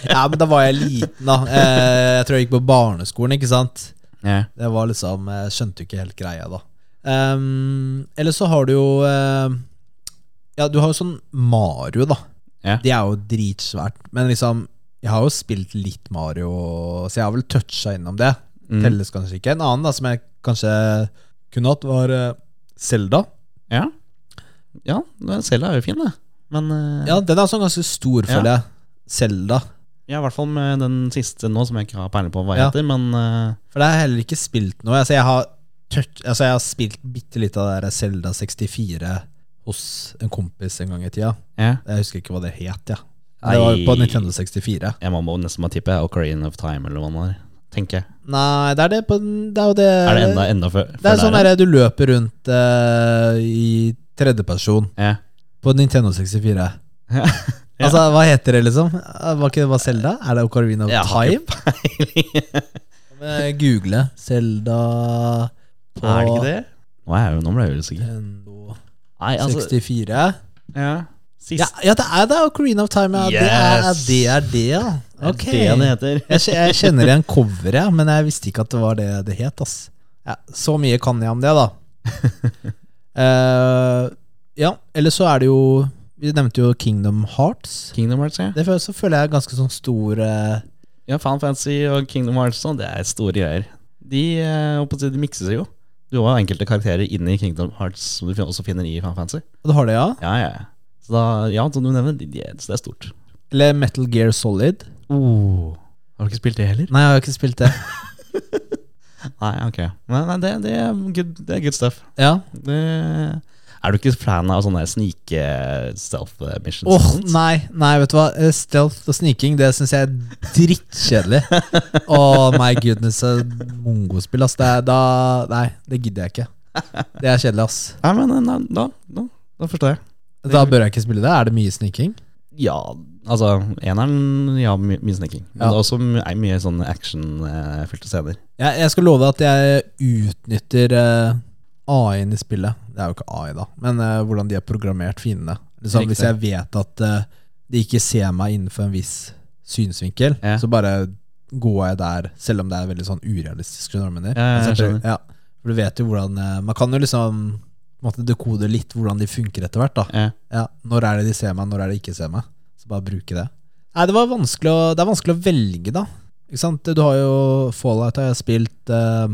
S1: Ja, men da var jeg liten, da. Eh, jeg tror jeg gikk på barneskolen, ikke sant.
S2: ja.
S1: Det var liksom eh, Skjønte jo ikke helt greia, da. Um, eller så har du jo eh, Ja, du har jo sånn Mario, da.
S2: Ja.
S1: Det er jo dritsvært. Men liksom Jeg har jo spilt litt Mario, så jeg har vel toucha innom det.
S2: Mm.
S1: Telles kanskje ikke. En annen da som jeg kanskje kunne hatt, var eh, Zelda.
S2: Ja. Ja, Selda er jo fin, det. Men eh,
S1: Ja, den er også ganske stor,
S2: Ja.
S1: føler jeg. Zelda.
S2: ja, i hvert fall med den siste nå, som jeg ikke har peiling på hva
S1: Ja.
S2: heter. Men eh,
S1: For det har jeg heller ikke spilt noe. Altså, jeg har, touch, altså, jeg har spilt bitte litt av det der Zelda 64 hos en kompis en gang i tida.
S2: ja.
S1: Jeg husker ikke hva det het, ja. Det var jo på
S2: Nei.
S1: Nintendo 64.
S2: jeg må må nesten bare tippe Ocarina of Time eller hva det er. Tenker jeg.
S1: Nei, det er det på den- Det er jo det
S2: Er Eh, det enda, enda før?
S1: Det er sånn
S2: der,
S1: der du løper rundt eh, i tredjeperson
S2: ja.
S1: på Nintendo 64.
S2: Ja.
S1: Altså, hva heter det, liksom? Eh, Var ikke det bare Selda? Er det Ocarina of
S2: Jeg har ikke
S1: Time? Eh, Google Selda på
S2: Er det ikke det? Nå, er jeg, jo- nå ble jeg usikker.
S1: Nintendo
S2: Nei, altså
S1: 64.
S2: ja. Sist
S1: Ja, ja, det er det Ocarina of Time. Ja.
S2: Yes.
S1: Det er det, er det, ja. Ok.
S2: Det er det det heter.
S1: Jeg, kje- jeg kjenner igjen coveret, ja, men jeg visste ikke at det var det det het. Ass. Ja, så mye kan jeg om det, da. Eh, ja, eller så er det jo Vi nevnte jo Kingdom Hearts.
S2: Kingdom Hearts, ja.
S1: Det føler, så føler jeg er ganske sånn stor eh,
S2: Ja, Final Fantasy og Kingdom Hearts og sånn, det er store greier. De, eh, holdt på å si, de mikser seg jo. Du har jo enkelte karakterer inni Kingdom Hearts som du fin- også finner i Final Fantasy.
S1: Du har det, ja?
S2: Ja, ja. ja. Så da, ja, som du nevner, de, de, er- så det er stort.
S1: Eller Metal Gear Solid?
S2: Oh. Har du ikke spilt det heller?
S1: Nei, jeg har ikke spilt det.
S2: Nei, ok. Nei, nei det, det, er good, det er good stuff.
S1: Ja
S2: Det, er du ikke fan av sånne snike-stealth missions?
S1: Åh, nei, nei, vet du hva? Eh, Stealth og sniking, det syns jeg er drittkjedelig. Åh, my goodness. eh, Mongospill, ass. Det er, da, nei, det gidder jeg ikke. Det er kjedelig, ass.
S2: Nei, men eh, nei, da, da, da forstår jeg.
S1: Da bør jeg ikke spille det? Er det mye sniking?
S2: Ja, altså eneren Ja, my- mye sneaking. Men
S1: Ja.
S2: det er også my- er mye sånn actionfylte scener.
S1: Jeg, jeg skal love at jeg utnytter eh, AI-en i spillet. Det er jo ikke AI, da, men eh, hvordan de har programmert fiendene. Liksom, hvis
S2: Riktig.
S1: jeg vet at eh, de ikke ser meg innenfor en viss synsvinkel,
S2: Ja.
S1: så bare går jeg der, selv om det er veldig sånn urealistisk. skjønner du hva jeg mener?
S2: Ja, ja, jeg
S1: Altså,
S2: skjønner.
S1: ja, for du vet jo hvordan eh, Man kan jo liksom på en måte dekode litt hvordan de funker etter hvert. da
S2: Ja.
S1: Ja, Når er det de ser meg, når er det de ikke ser meg? Så bare bruke det. Nei, det, var vanskelig å, det er vanskelig å velge, da. Ikke sant? Du har jo Fallout, har jeg spilt eh,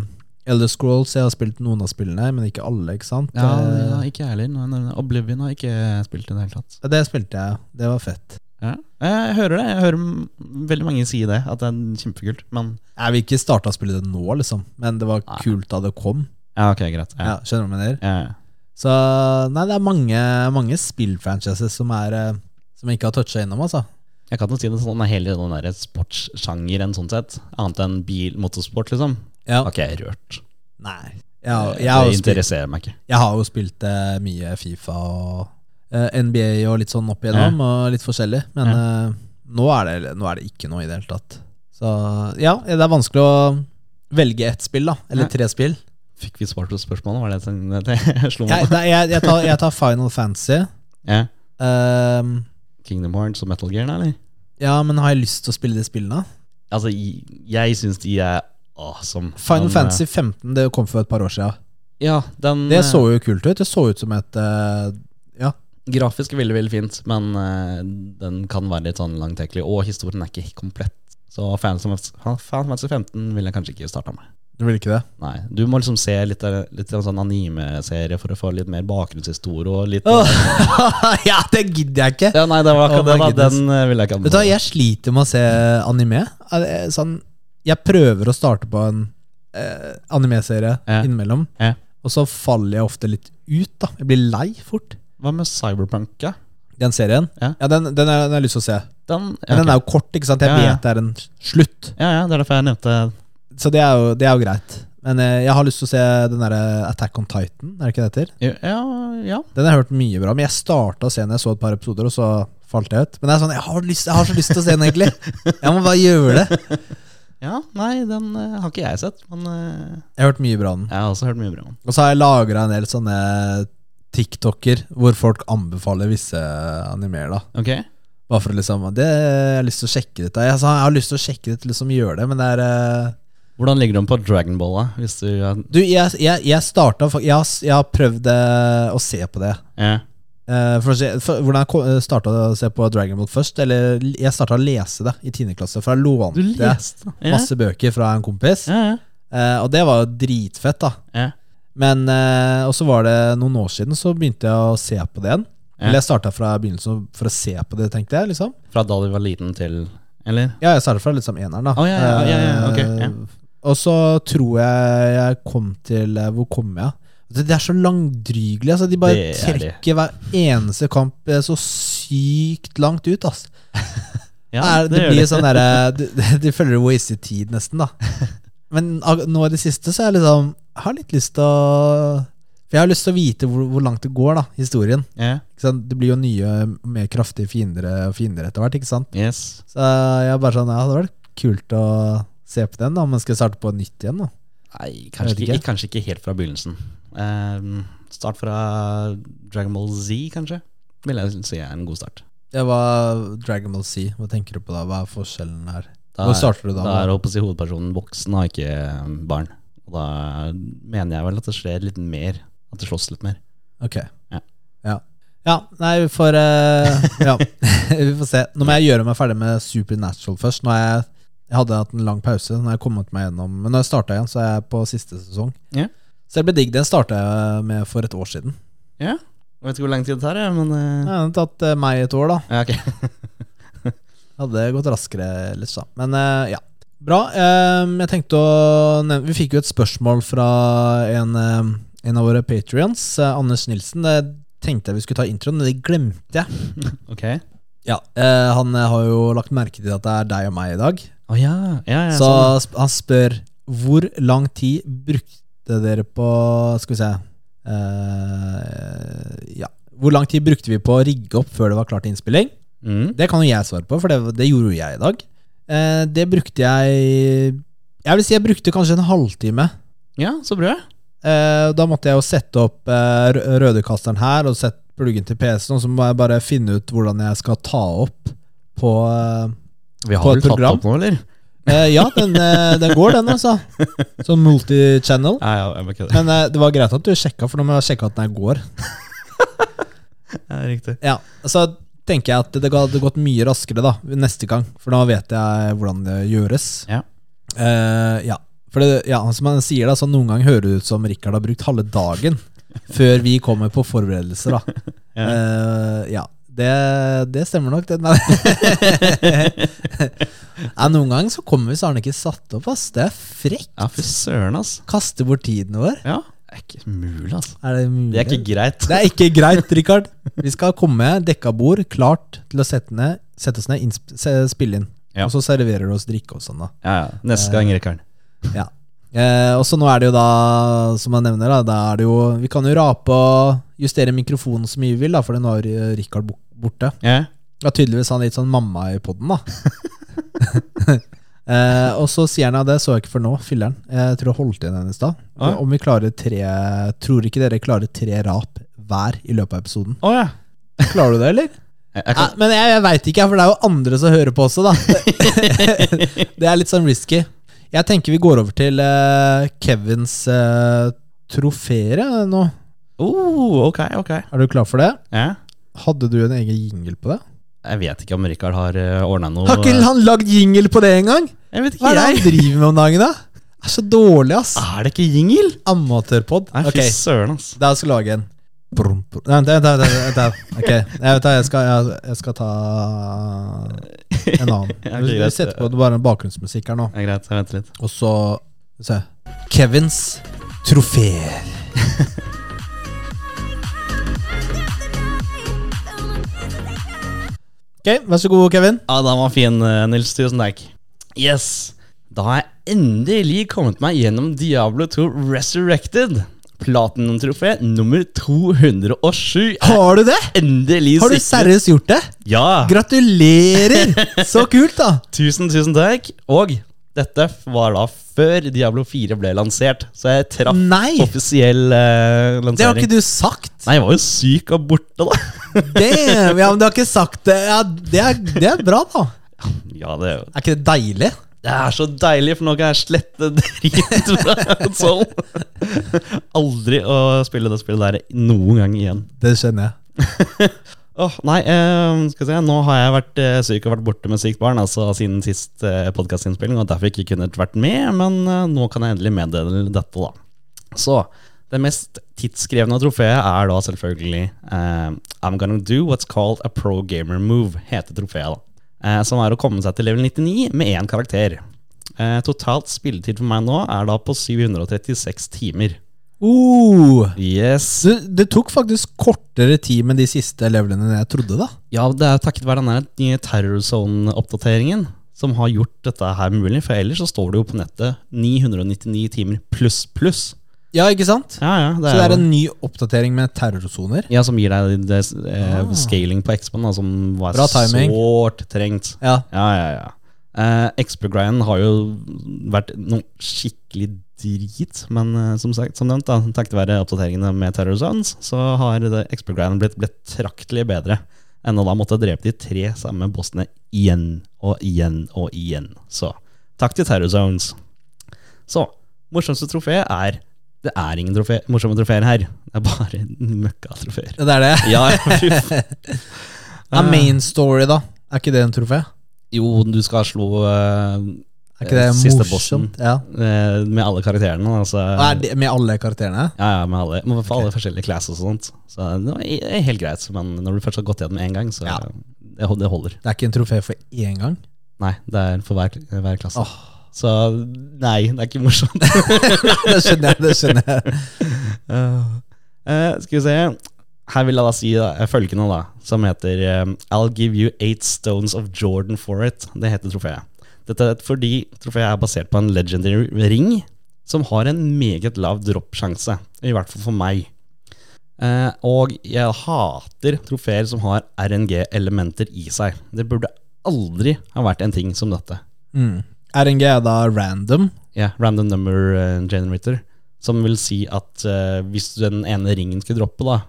S1: Elder Scrolls, jeg har spilt noen av spillene, men ikke alle, ikke sant?
S2: Ja,
S1: Eh,
S2: ja, ikke jeg heller. Nei, nei, nei, Oblivion har jeg ikke spilt i det hele tatt.
S1: Det spilte jeg, det var fett.
S2: Ja. Jeg hører det. Jeg hører m- veldig mange si det, at det er kjempekult. Men
S1: Jeg vil ikke starte å spille det nå, liksom, men det var
S2: Nei.
S1: kult da det kom.
S2: ja, ok, greit.
S1: Ja,
S2: Ja.
S1: skjønner du hva jeg mener?
S2: Ja. ja.
S1: Så nei, det er mange, mange spillfranchises som, er, eh, som jeg ikke har toucha innom, altså.
S2: Jeg kan jo si det sånn, det er hele den der sportssjangeren sånn sett. Annet enn bil, motorsport, liksom.
S1: Ja.
S2: Har ikke jeg rørt.
S1: Nei. Jeg, har- jeg, har jo
S2: det
S1: spilt,
S2: interesserer meg ikke.
S1: jeg har jo spilt eh, mye Fifa og eh, NBA og litt sånn opp igjennom, og litt forskjellig, men eh, nå, er det, nå er det ikke noe i det hele tatt. Så ja, det er vanskelig å velge ett spill, da. Eller
S2: Ja.
S1: tre spill.
S2: Fikk vi svart på spørsmålet? Var det sånn- det jeg slo meg
S1: Jeg,
S2: på?
S1: nei, jeg, jeg, tar, jeg tar Final Fantasy.
S2: Ja.
S1: Ehm,
S2: Kingdom Hearts og Metal Gear, eller?
S1: ja, men har jeg lyst til å spille de spillene?
S2: Altså, jeg, jeg syns de er awesome.
S1: Final
S2: Men,
S1: Fantasy 15 det kom for et par år siden.
S2: eh, Ja, den
S1: Det
S2: eh,
S1: så jo kult ut. Det så ut som et eh,
S2: grafisk er veldig, veldig fint, men eh, den kan være litt sånn langtekkelig. Og historien er ikke komplett. Så Final Fantasy Final Fantasy 15 ville jeg kanskje ikke starta med.
S1: Du vil ikke det?
S2: Nei, Du må liksom se litt, av- litt av en sånn anime-serie for å få litt mer bakgrunnshistorie. Og litt, eh,
S1: Åh, ja, det gidder jeg ikke!
S2: ja, nei, det var
S1: Oh
S2: akkurat
S1: my
S2: det. da.
S1: goodness.
S2: Den eh, ville jeg
S1: Vet du
S2: ikke
S1: hva,
S2: anbefale.
S1: jeg sliter med å se anime. Er det Sånn, jeg prøver å starte på en eh, animeserie
S2: Ja.
S1: innimellom,
S2: Ja.
S1: og så faller jeg ofte litt ut. da Jeg blir lei fort.
S2: Hva med Cyberpunk? Ja?
S1: Den serien
S2: Ja.
S1: den, den, har- den har jeg lyst til å se.
S2: Den, ja,
S1: Men den
S2: ok.
S1: er jo kort, ikke sant? Jeg
S2: Ja, ja.
S1: vet det er en slutt.
S2: ja, ja, det er derfor jeg nevnte
S1: Så det er jo, det er jo greit. Men eh, jeg har lyst til å se den derre Attack on Titan, er det ikke det heter?
S2: Ja, ja.
S1: Den har jeg hørt mye bra om. Jeg starta å se den, jeg så et par episoder, og så falt jeg ut. Men det er sånn, jeg har, lyst, jeg har så lyst til å se den, egentlig. Jeg må bare gjøre det.
S2: ja nei, den eh, har ikke jeg sett, men eh,
S1: Jeg har hørt mye bra om den.
S2: jeg har også hørt mye bra om den.
S1: Og så har jeg lagra en del sånne TikToker hvor folk anbefaler visse animer, da.
S2: Ok.
S1: Bare for å liksom det, Jeg har lyst til å sjekke dette. Jeg, sa, jeg har lyst til å sjekke det til liksom gjøre det, men det er eh,
S2: Hvordan ligger de på Dragon Ball, da? Hvis du ja,
S1: Du, jeg, jeg, jeg starta fa- jeg, har s- jeg har prøvd eh, å se på det. Eh, for å se, for, hvordan jeg starta å se på Dragon Ball først? Eller jeg starta å lese det i 10. klasse, for jeg
S2: Du
S1: lånte
S2: leste ja.
S1: masse bøker fra en kompis.
S2: Ja, ja.
S1: Eh, og det var jo dritfett, da.
S2: ja.
S1: Men eh, Og så var det noen år siden, så begynte jeg å se på det igjen.
S2: Ja.
S1: Eller jeg starta fra begynnelsen for å se på det, tenkte jeg. liksom
S2: Fra da du var liten til Eller?
S1: Ja, jeg starta fra liksom eneren, da.
S2: Å, ja, ja, ja, ja, ok, ja.
S1: Eh, Og så tror jeg jeg kom til eh, Hvor kom jeg? Det, det er så langdrygelig. Altså, de bare
S2: Det er de.
S1: trekker hver eneste kamp eh, så sykt langt ut. Altså.
S2: Ja,
S1: det, er, det, blir sånn
S2: eh,
S1: derre du- du- De føler det wasted tid, nesten, da. Men ag- nå i det siste så er jeg liksom Jeg har litt lyst til å For jeg har lyst til å vite hvor, hvor langt det går, da, historien.
S2: Ja,
S1: Ikke sant? Det blir jo nye, mer kraftige fiender og fiender etter hvert, ikke sant.
S2: yes.
S1: Så jeg er bare sånn Ja, det hadde vært kult å se på den, da. Men skal jeg starte på nytt igjen, da?
S2: Nei, kanskje
S1: Jeg
S2: ikke,
S1: vet
S2: kanskje ikke helt fra begynnelsen. Ehm, start fra Dragon Ball Z, kanskje. Vil jeg si er en god start.
S1: Det var Dragon Ball Z. Hva tenker du på da? Hva er forskjellen her?
S2: Da
S1: Hvor
S2: er-
S1: starter du da?
S2: Da er holdt på å si, hovedpersonen voksen og ikke ehm, barn. Og da mener jeg vel at det skjer litt mer. At det slåss litt mer.
S1: Ok.
S2: Ja.
S1: Ja. Ja, nei, vi får eh, Ja, vi får se. Nå må jeg gjøre meg ferdig med Supernatural først. Nå har jeg, jeg hadde hatt en lang pause. Nå har jeg kommet meg gjennom Men når jeg starta igjen, så er jeg på siste sesong.
S2: Ja.
S1: Så det ble digg. Den starta jeg med for et år siden.
S2: Ja, jeg vet ikke hvor lang tid det tar, jeg, men eh,
S1: Det har tatt eh, meg et år, da.
S2: ja, ok.
S1: Hadde gått raskere ellers, da. Men eh, ja. Bra. Ehm, jeg tenkte å nevne Vi fikk jo et spørsmål fra en, eh, en av våre patrions, eh, Anders Nilsen. Det tenkte jeg vi skulle ta i introen, men det glemte jeg.
S2: Ok.
S1: Ja, eh, Han eh, har jo lagt merke til at det er deg og meg i dag.
S2: Å ja. ja, ja
S1: Så
S2: sånn.
S1: sp han spør hvor lang tid brukte dere på Skal vi se eh, Ja. Hvor lang tid brukte vi på å rigge opp før det var klart til innspilling?
S2: Mm.
S1: Det kan jo jeg svare på, for det, det gjorde jo jeg i dag. Eh, det brukte jeg Jeg vil si jeg brukte kanskje en halvtime.
S2: ja, så bra.
S1: Eh, da måtte jeg jo sette opp eh, rø- rødekasteren her og sette pluggen til PC-en, og så må jeg bare finne ut hvordan jeg skal ta opp på eh,
S2: Vi har
S1: På
S2: vel
S1: et
S2: tatt
S1: program?
S2: opp nå, eller?
S1: eh, Ja, den, eh, den går, den, altså. Som multichannel.
S2: Ja, ja, jeg bare kødder.
S1: Men eh, det var greit at du sjekka, for nå må jeg sjekke at den her går.
S2: Ja, riktig.
S1: Ja, så tenker jeg at det hadde gått mye raskere da neste gang, for da vet jeg hvordan det gjøres.
S2: Ja.
S1: Eh, ja. For det, ja, som han sier da, så noen ganger hører det ut som Rikard har brukt halve dagen før vi kommer på forberedelser. da.
S2: Ja.
S1: Eh, ja. Det, det stemmer nok. Det, nei. Nei, noen ganger så kommer vi så har den ikke satt opp. ass. Det er frekt.
S2: Ja, fy søren, ass.
S1: Kaster bort tiden vår.
S2: Ja, det er ikke mulig, ass.
S1: Er det mulig?
S2: Det er ikke greit.
S1: Det er ikke greit, Rikard. Vi skal komme, dekka bord, klart til å sette, ned, sette oss ned, innsp- se- spille inn.
S2: Ja.
S1: Og så serverer du oss drikke og sånn, da.
S2: Ja, ja. Neste gang, Rikard.
S1: Ja. Eh, og så nå er det jo da, som jeg nevner, da, da er det jo Vi kan jo rape og justere mikrofonen så mye vi vil, da, for den har eh, Rikard bo- borte.
S2: Ja.
S1: Det er tydeligvis han litt sånn mamma i poden, da. eh, og så sier han at det så jeg ikke før nå, filler'n. Jeg tror jeg holdt igjen en i stad.
S2: Ja.
S1: Om vi klarer tre Tror ikke dere klarer tre rap hver i løpet av episoden?
S2: Å ja. Ah.
S1: Klarer du det, eller?
S2: Jeg, jeg
S1: Ja,
S2: kan,
S1: men jeg, jeg veit ikke, for det er jo andre som hører på også, da. det er litt sånn risky. Jeg tenker vi går over til eh, Kevins uh, trofeer eh, nå.
S2: oh, ok, ok.
S1: Er du klar for det?
S2: Ja.
S1: Hadde du en egen jingle på det?
S2: Jeg vet ikke om Rikard har ordna noe
S1: Har ikke
S2: eh,
S1: han lagd jingle på det engang?
S2: Jeg vet ikke,
S1: Hva er det han
S2: jeg.
S1: driver med om dagen, da? Det er så dårlig, ass.
S2: Er det ikke jingle?
S1: Amatørpod.
S2: Nei,
S1: Ok,
S2: fy søren, ass.
S1: da skal jeg lage en. Brum, brum. Nei, Vent, vent, vent, vent, vent. Ok, jeg, vet, da, jeg, skal, jeg, jeg skal ta en annen.
S2: Ja, ok,
S1: Vi vi
S2: greit.
S1: setter på bare bakgrunnsmusikk her nå.
S2: Det er greit, jeg venter litt.
S1: Og så se. Kevins trofeer. Ok, vær så god, Kevin.
S2: Ja, den var fin, eh, Nils. Tusen takk. Yes. Da har jeg endelig kommet meg gjennom Diablo 2 Resurrected. Platinum-trofé nummer 207 er
S1: Har du det?
S2: endelig
S1: Har du
S2: sikret.
S1: seriøst gjort det?
S2: Ja!
S1: Gratulerer! Så kult, da.
S2: Tusen, tusen takk. Og dette var da før Diablo 4 ble lansert, så jeg traff
S1: Nei!
S2: offisiell eh, lansering.
S1: Det har ikke du sagt.
S2: Nei, jeg var jo syk og borte, da.
S1: Damn, ja, men du har ikke sagt det. Ja, det, er, det er bra, da.
S2: Ja, det,
S1: Er ikke det deilig?
S2: det er så deilig, for nå kan jeg slette dritt fra konsollen. Aldri å spille det spillet der noen gang igjen.
S1: Det skjønner jeg.
S2: Åh, nei, eh, skal vi se. Nå har jeg vært eh, syk og vært borte med sykt barn altså siden sist eh, podkastinnspilling, og derfor ikke kunnet vært med, men eh, nå kan jeg endelig meddele dette, da. Så det mest tidskrevne trofeet er da selvfølgelig eh, I'm gonna do what's called a pro gamer move, heter trofeet, da. Eh, som er å komme seg til level 99 med én karakter. Eh, totalt spilletid for meg nå er da på 736 timer.
S1: Uh,
S2: Yes!
S1: så det tok faktisk kortere tid med de siste levelene enn jeg trodde, da.
S2: Ja, det er takket være den nye Terrorzone-oppdateringen som har gjort dette her mulig, for ellers så står det jo på nettet 999 timer pluss pluss.
S1: Ja, ikke sant?
S2: Ja, ja, det
S1: så det
S2: er
S1: er
S2: jo-
S1: en ny oppdatering med terrorsoner.
S2: ja, som gir deg det, eh,
S1: Ah.
S2: scaling på X-Pan, da, som var
S1: Bra timing.
S2: sårt trengt.
S1: Ja.
S2: Ja, ja, ja. Eh, XP-grinden har jo vært noe skikkelig drit, men eh, som sagt, som nevnt, da, takket være oppdateringene med Terror Zones, så har det XP-grinden blitt betraktelig bedre enn å da måtte drepe de tre samme bossene igjen og igjen og igjen. Så takk til Terror Zones. Så morsomste trofé er Det er ingen trofé, morsomme trofeer her. Det er bare møkka-trofeer.
S1: Det er det.
S2: Ja, fy faen.
S1: Ja, main story, da. Er ikke det en trofé?
S2: Jo, du skal slå eh,
S1: Er ikke det
S2: Eh, siste bossen.
S1: morsomt? Ja.
S2: Eh, med alle karakterene. Altså,
S1: Og er det med alle karakterene?
S2: ja, ja, med alle, med alle forskjellige classes og sånt. Så det var i- i- helt greit, men når du først har gått gjennom én gang, så
S1: Ja.
S2: det, ho- det holder.
S1: Det er ikke en trofé for én gang?
S2: Nei, det er for hver, hver klasse.
S1: Åh,
S2: Så nei, det er ikke morsomt.
S1: det skjønner jeg. det skjønner jeg
S2: Eh, skal vi se. Her vil jeg da si da, eh, følgende, da, som heter eh, I'll give you eight stones of Jordan for it. Det heter trofeet. Dette er fordi trofeet er basert på en legendary ring som har en meget lav droppsjanse. I hvert fall for meg. Eh, og jeg hater trofeer som har RNG-elementer i seg. Det burde aldri ha vært en ting som dette
S1: Mm. RNG er da random.
S2: ja, random number eh, generator. Som vil si at eh, hvis den ene ringen skulle droppe, da,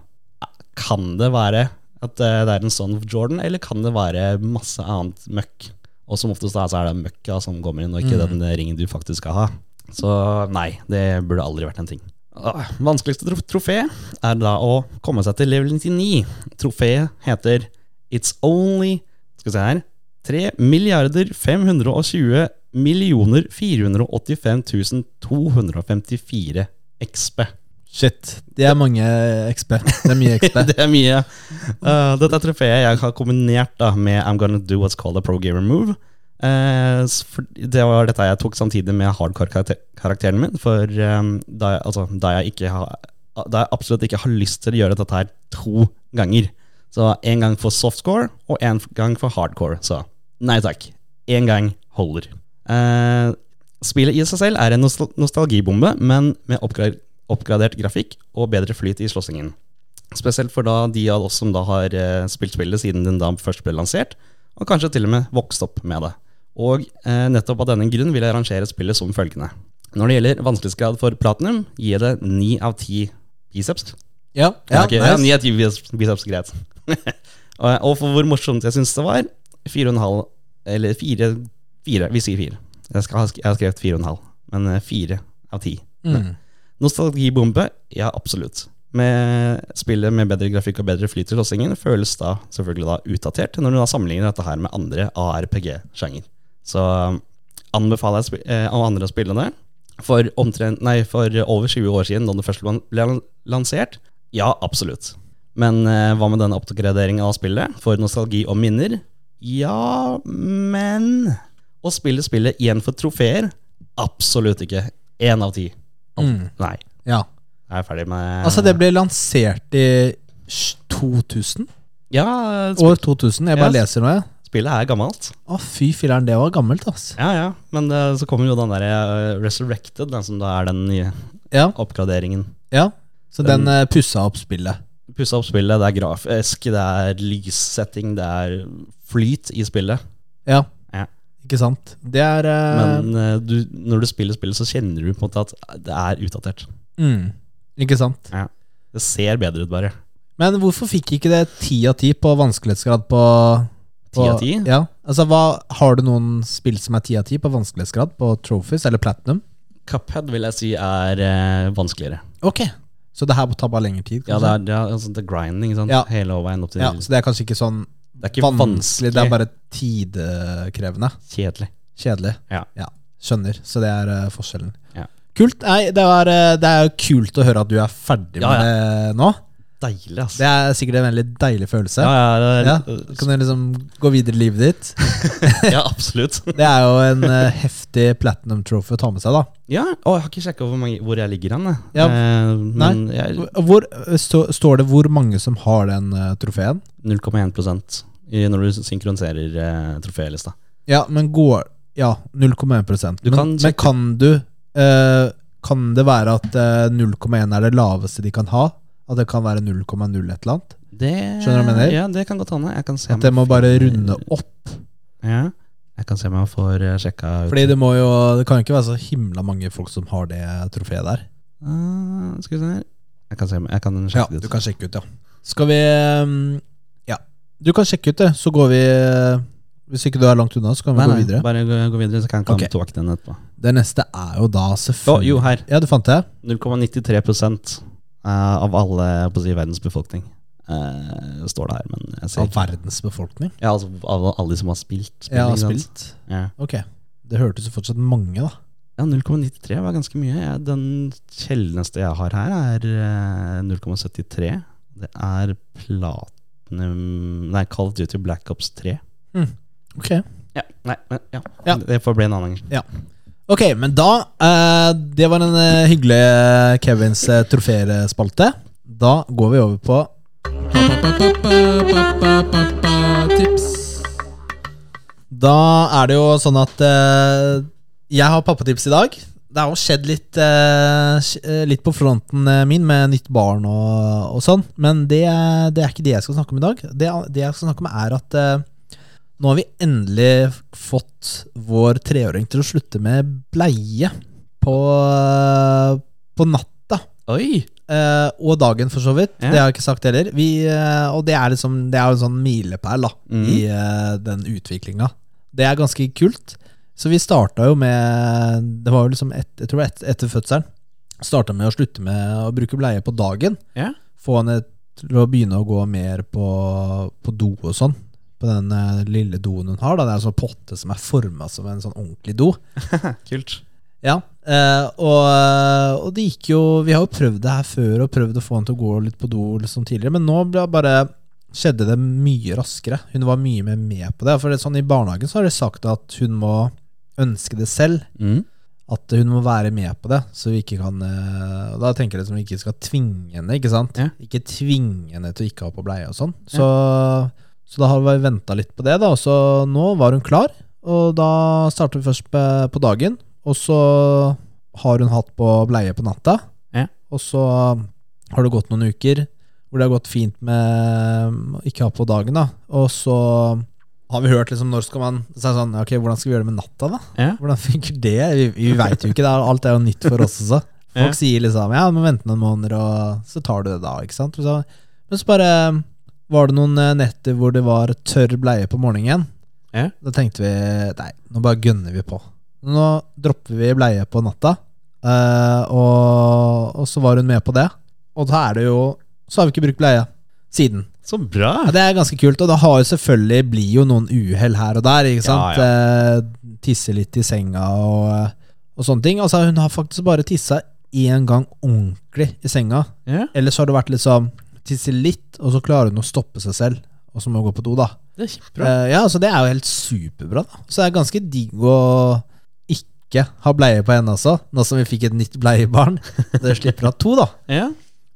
S2: kan det være at eh, det er en Son of Jordan, eller kan det være masse annet møkk? Og som oftest da, så er det møkka som kommer inn, og ikke den ringen du faktisk skal ha. Så nei, det burde aldri vært en ting. Åh, Vanskeligste trof trofé er da å komme seg til level 99. Trofeet heter It's Only Skal vi se her 3 milliarder 520 millioner 485 254 XP.
S1: Shit. Det er mange XP. Det er mye XP.
S2: Det er mye. Eh, dette er trofeet jeg har kombinert da med I'm gonna do what's called a pro gamer move. Eh, s- for det var dette jeg tok samtidig med hardcore-karakteren min. For eh, da, jeg, altså, da, jeg ikke har, da jeg absolutt ikke har lyst til å gjøre dette her to ganger. Så én gang for softscore og én gang for hardcore. Så nei takk. Én gang holder. Eh, spillet i seg selv er en nostal nostalgibombe, men med oppgra oppgradert grafikk og bedre flyt i slåssingen. Spesielt for da de av oss som da har eh, spilt spillet siden den da først ble lansert, og kanskje til og med vokst opp med det. Og eh, nettopp av denne grunn vil jeg rangere spillet som følgende. Når det gjelder vanskelighetsgrad for platinum, gir jeg det 9 av 10 biceps.
S1: Ja,
S2: Ja,
S1: ja,
S2: ok, ja, 9 av 10 biceps, biceps greit. og, og for hvor morsomt jeg syns det var, 4,5 Eller 4, 4 Vi sier 4. Jeg, skal, ha sk- jeg har skrevet 4,5, men eh, 4 av 10.
S1: Mm.
S2: Nostalgibombe? Ja, absolutt. Med spillet med bedre grafikk og bedre flyt i låsingen føles da selvfølgelig da utdatert, når du da sammenligner dette her med andre ARPG-sjanger. Så um, anbefaler jeg spi- eh, av andre å spille det. For, omtrent, nei, for over 20 år siden, da det først ble- ble lansert, ja, absolutt. Men eh, hva med den oppgraderingen av spillet? For nostalgi og minner? Ja, men Å spille spillet igjen for trofeer? Absolutt ikke. Én av ti.
S1: Mm.
S2: Nei.
S1: ja.
S2: Jeg er ferdig med
S1: Altså, det ble lansert i sj- 2000?
S2: Ja, sp
S1: År 2000. Jeg bare
S2: Ja.
S1: leser nå, jeg.
S2: spillet er gammelt.
S1: Å, fy filleren, det var gammelt, ass.
S2: Ja, ja. Men eh, så kommer jo den der eh, Resurrected, den som da er den nye
S1: Ja,
S2: oppgraderingen.
S1: ja. Så den eh, pussa opp spillet.
S2: Pussa opp spillet, det er grafisk, det er lyssetting, det er flyt i spillet.
S1: Ja.
S2: Ja.
S1: Ikke sant? Det er eh,
S2: Men eh, du, når du spiller spillet, så kjenner du på en måte at det er utdatert.
S1: mm, Ikke sant?
S2: Det ser bedre ut, bare.
S1: Men hvorfor fikk ikke det ti av ti på vanskelighetsgrad på
S2: 10 av
S1: på-
S2: 10?
S1: Ja. Altså, hva, har du noen spill som er ti av ti på vanskelighetsgrad på trophies eller platinum?
S2: Cuphead vil jeg si er eh, vanskeligere.
S1: Ok. Så det her tar bare lengre tid.
S2: Ja, det
S1: kanskje?
S2: er, det er, altså, det er grinding, ikke sant?
S1: Ja.
S2: Hele veien opp til
S1: ja, Så det er kanskje ikke sånn
S2: Det er ikke
S1: vanskelig,
S2: vanskelig,
S1: det er bare tidkrevende.
S2: kjedelig.
S1: Kjedelig.
S2: Ja.
S1: Skjønner. Så det er eh, forskjellen.
S2: Ja.
S1: Kult. Nei, det, var, eh, det er jo kult å høre at du er ferdig
S2: Ja,
S1: med det nå.
S2: Deilig, ass.
S1: Det er sikkert en veldig deilig følelse.
S2: ja, ja, det er,
S1: Ja, Kan du liksom gå videre i livet ditt?
S2: ja, absolutt.
S1: Det er jo en eh, heftig platinum trophy å ta med seg, da.
S2: Ja, og jeg har ikke sjekka hvor, mange- hvor jeg ligger hen. jeg.
S1: Ja,
S2: Eh, men jeg
S1: Hvor, stå, står det hvor mange som har den eh, trofeen?
S2: 0,1 i- når du synkroniserer eh, trofélista.
S1: Ja, men går Ja, 0,1
S2: Du
S1: Men kan,
S2: kan
S1: men
S2: sjekke-
S1: kan du eh, Kan det være at eh, 0,1 er det laveste de kan ha? At det kan være 0,0 et eller annet?
S2: Det,
S1: Skjønner du hva jeg mener?
S2: Ja, det kan godt hende. Jeg kan se om
S1: At det
S2: jeg
S1: må bare
S2: finner-
S1: runde opp?
S2: Ja, jeg kan se om jeg får eh, sjekka ut
S1: Fordi det må jo Det kan jo ikke være så himla mange folk som har det trofeet der.
S2: Ah, Skal vi se her Jeg kan, se, om- jeg kan
S1: Ja,
S2: sjekke det
S1: du
S2: ut.
S1: kan sjekke ut, ja. Skal vi mm, Ja. Du kan sjekke ut det, så går vi eh, Hvis ikke du er langt unna, så kan vi
S2: Nei,
S1: gå
S2: nei,
S1: videre.
S2: bare gå, gå videre, så kan jeg komme
S1: Ok.
S2: tilbake til den etterpå.
S1: Det neste er jo da
S2: Å,
S1: selvfølgelig
S2: jo, her.
S1: Ja, du fant det?
S2: 0,93 eh, av alle jeg holdt på å si, verdens befolkning eh, står det her. Men jeg ser
S1: Av
S2: ikke.
S1: verdens befolkning?
S2: Ja, altså, av alle de som har spilt. spillet,
S1: Ja,
S2: ikke sant?
S1: spilt.
S2: Ja.
S1: Ok. Det hørtes jo fortsatt mange, da.
S2: Ja, 0,93 var ganske mye. Jeg, den sjeldneste jeg har her, er eh, 0,73. Det er platinum Nei, Call of Duty Black Ops 3.
S1: Ok,
S2: Ja, nei, men, ja.
S1: Ja.
S2: Det får bli en annen gang.
S1: Ok, men da eh, Det var den eh, hyggelige Kevins eh, troférespalte. Da går vi over på Tips. Da er det jo sånn at eh, jeg har pappatips i dag. Det har jo skjedd litt, eh, sk- eh, litt på fronten eh, min med nytt barn og, og sånn, men det, det er ikke det jeg skal snakke om i dag. Det, det jeg skal snakke om, er at eh, Nå har vi endelig fått vår treåring til å slutte med bleie på, på natta.
S2: Oi!
S1: Eh, og dagen, for så vidt.
S2: Ja.
S1: Det har jeg ikke sagt heller. Vi, eh, og det er, liksom, det er jo en sånn milepæl da,
S2: Mhm.
S1: i eh, den utviklinga. Det er ganske kult. Så vi starta jo med Det var jo liksom et, jeg tror et, etter fødselen. Starta med å slutte med å bruke bleie på dagen.
S2: Ja.
S1: Få henne til å begynne å gå mer på, på do og sånn. På den eh, lille doen hun har. Da. Det er en sånn potte som er forma som en sånn ordentlig do.
S2: Kult.
S1: Ja, eh, og, eh, og det gikk jo Vi har jo prøvd det her før og prøvd å få han til å gå litt på do liksom tidligere, men nå ble det bare skjedde det mye raskere. Hun var mye mer med på det. For det, er sånn I barnehagen så har de sagt at hun må ønske det selv.
S2: Mm.
S1: At hun må være med på det, så vi ikke kan eh, og Da tenker jeg liksom vi ikke skal tvinge henne, ikke sant?
S2: Ja.
S1: Ikke tvinge henne til å ikke ha på bleie og sånn. Så, så da har vi venta litt på det, da. Og så nå var hun klar, og da starter vi først på, på dagen. Og så har hun hatt på bleie på natta,
S2: Ja.
S1: og så har det gått noen uker hvor det har gått fint med mm, ikke ha på dagen, da. Og så har vi hørt liksom når skal man så er det sånn, Ok, hvordan skal vi gjøre det med natta, da?
S2: Ja.
S1: Hvordan funker det? Vi, vi veit jo ikke. Det er, alt er jo nytt for oss også. Folk
S2: Ja.
S1: sier liksom ja, men vente noen måneder, og så tar du det da. ikke sant? Og Så, men så bare um, var det noen eh, netter hvor det var tørr bleie på morgenen.
S2: Ja.
S1: Da tenkte vi nei, nå bare gønner vi på. Nå dropper vi bleie på natta, eh, og, og så var hun med på det. Og da er det jo Så har vi ikke brukt bleie siden.
S2: Så bra!
S1: Ja, det er ganske kult, og det har jo selvfølgelig blir jo noen uhell her og der. ikke
S2: Ja,
S1: sant? Eh, tisse litt i senga og, eh, og sånne ting. Altså, Hun har faktisk bare tissa én gang ordentlig i senga.
S2: Ja.
S1: Ellers har det vært liksom tisse litt, og så klarer hun å stoppe seg selv. Og så må hun gå på do, da.
S2: Det er kjempebra.
S1: Eh, ja, så Det er jo helt superbra. da. Så det er ganske digg å ikke ha bleie på henne også, nå som vi fikk et nytt bleiebarn. Dere slipper å ha to, da.
S2: Ja.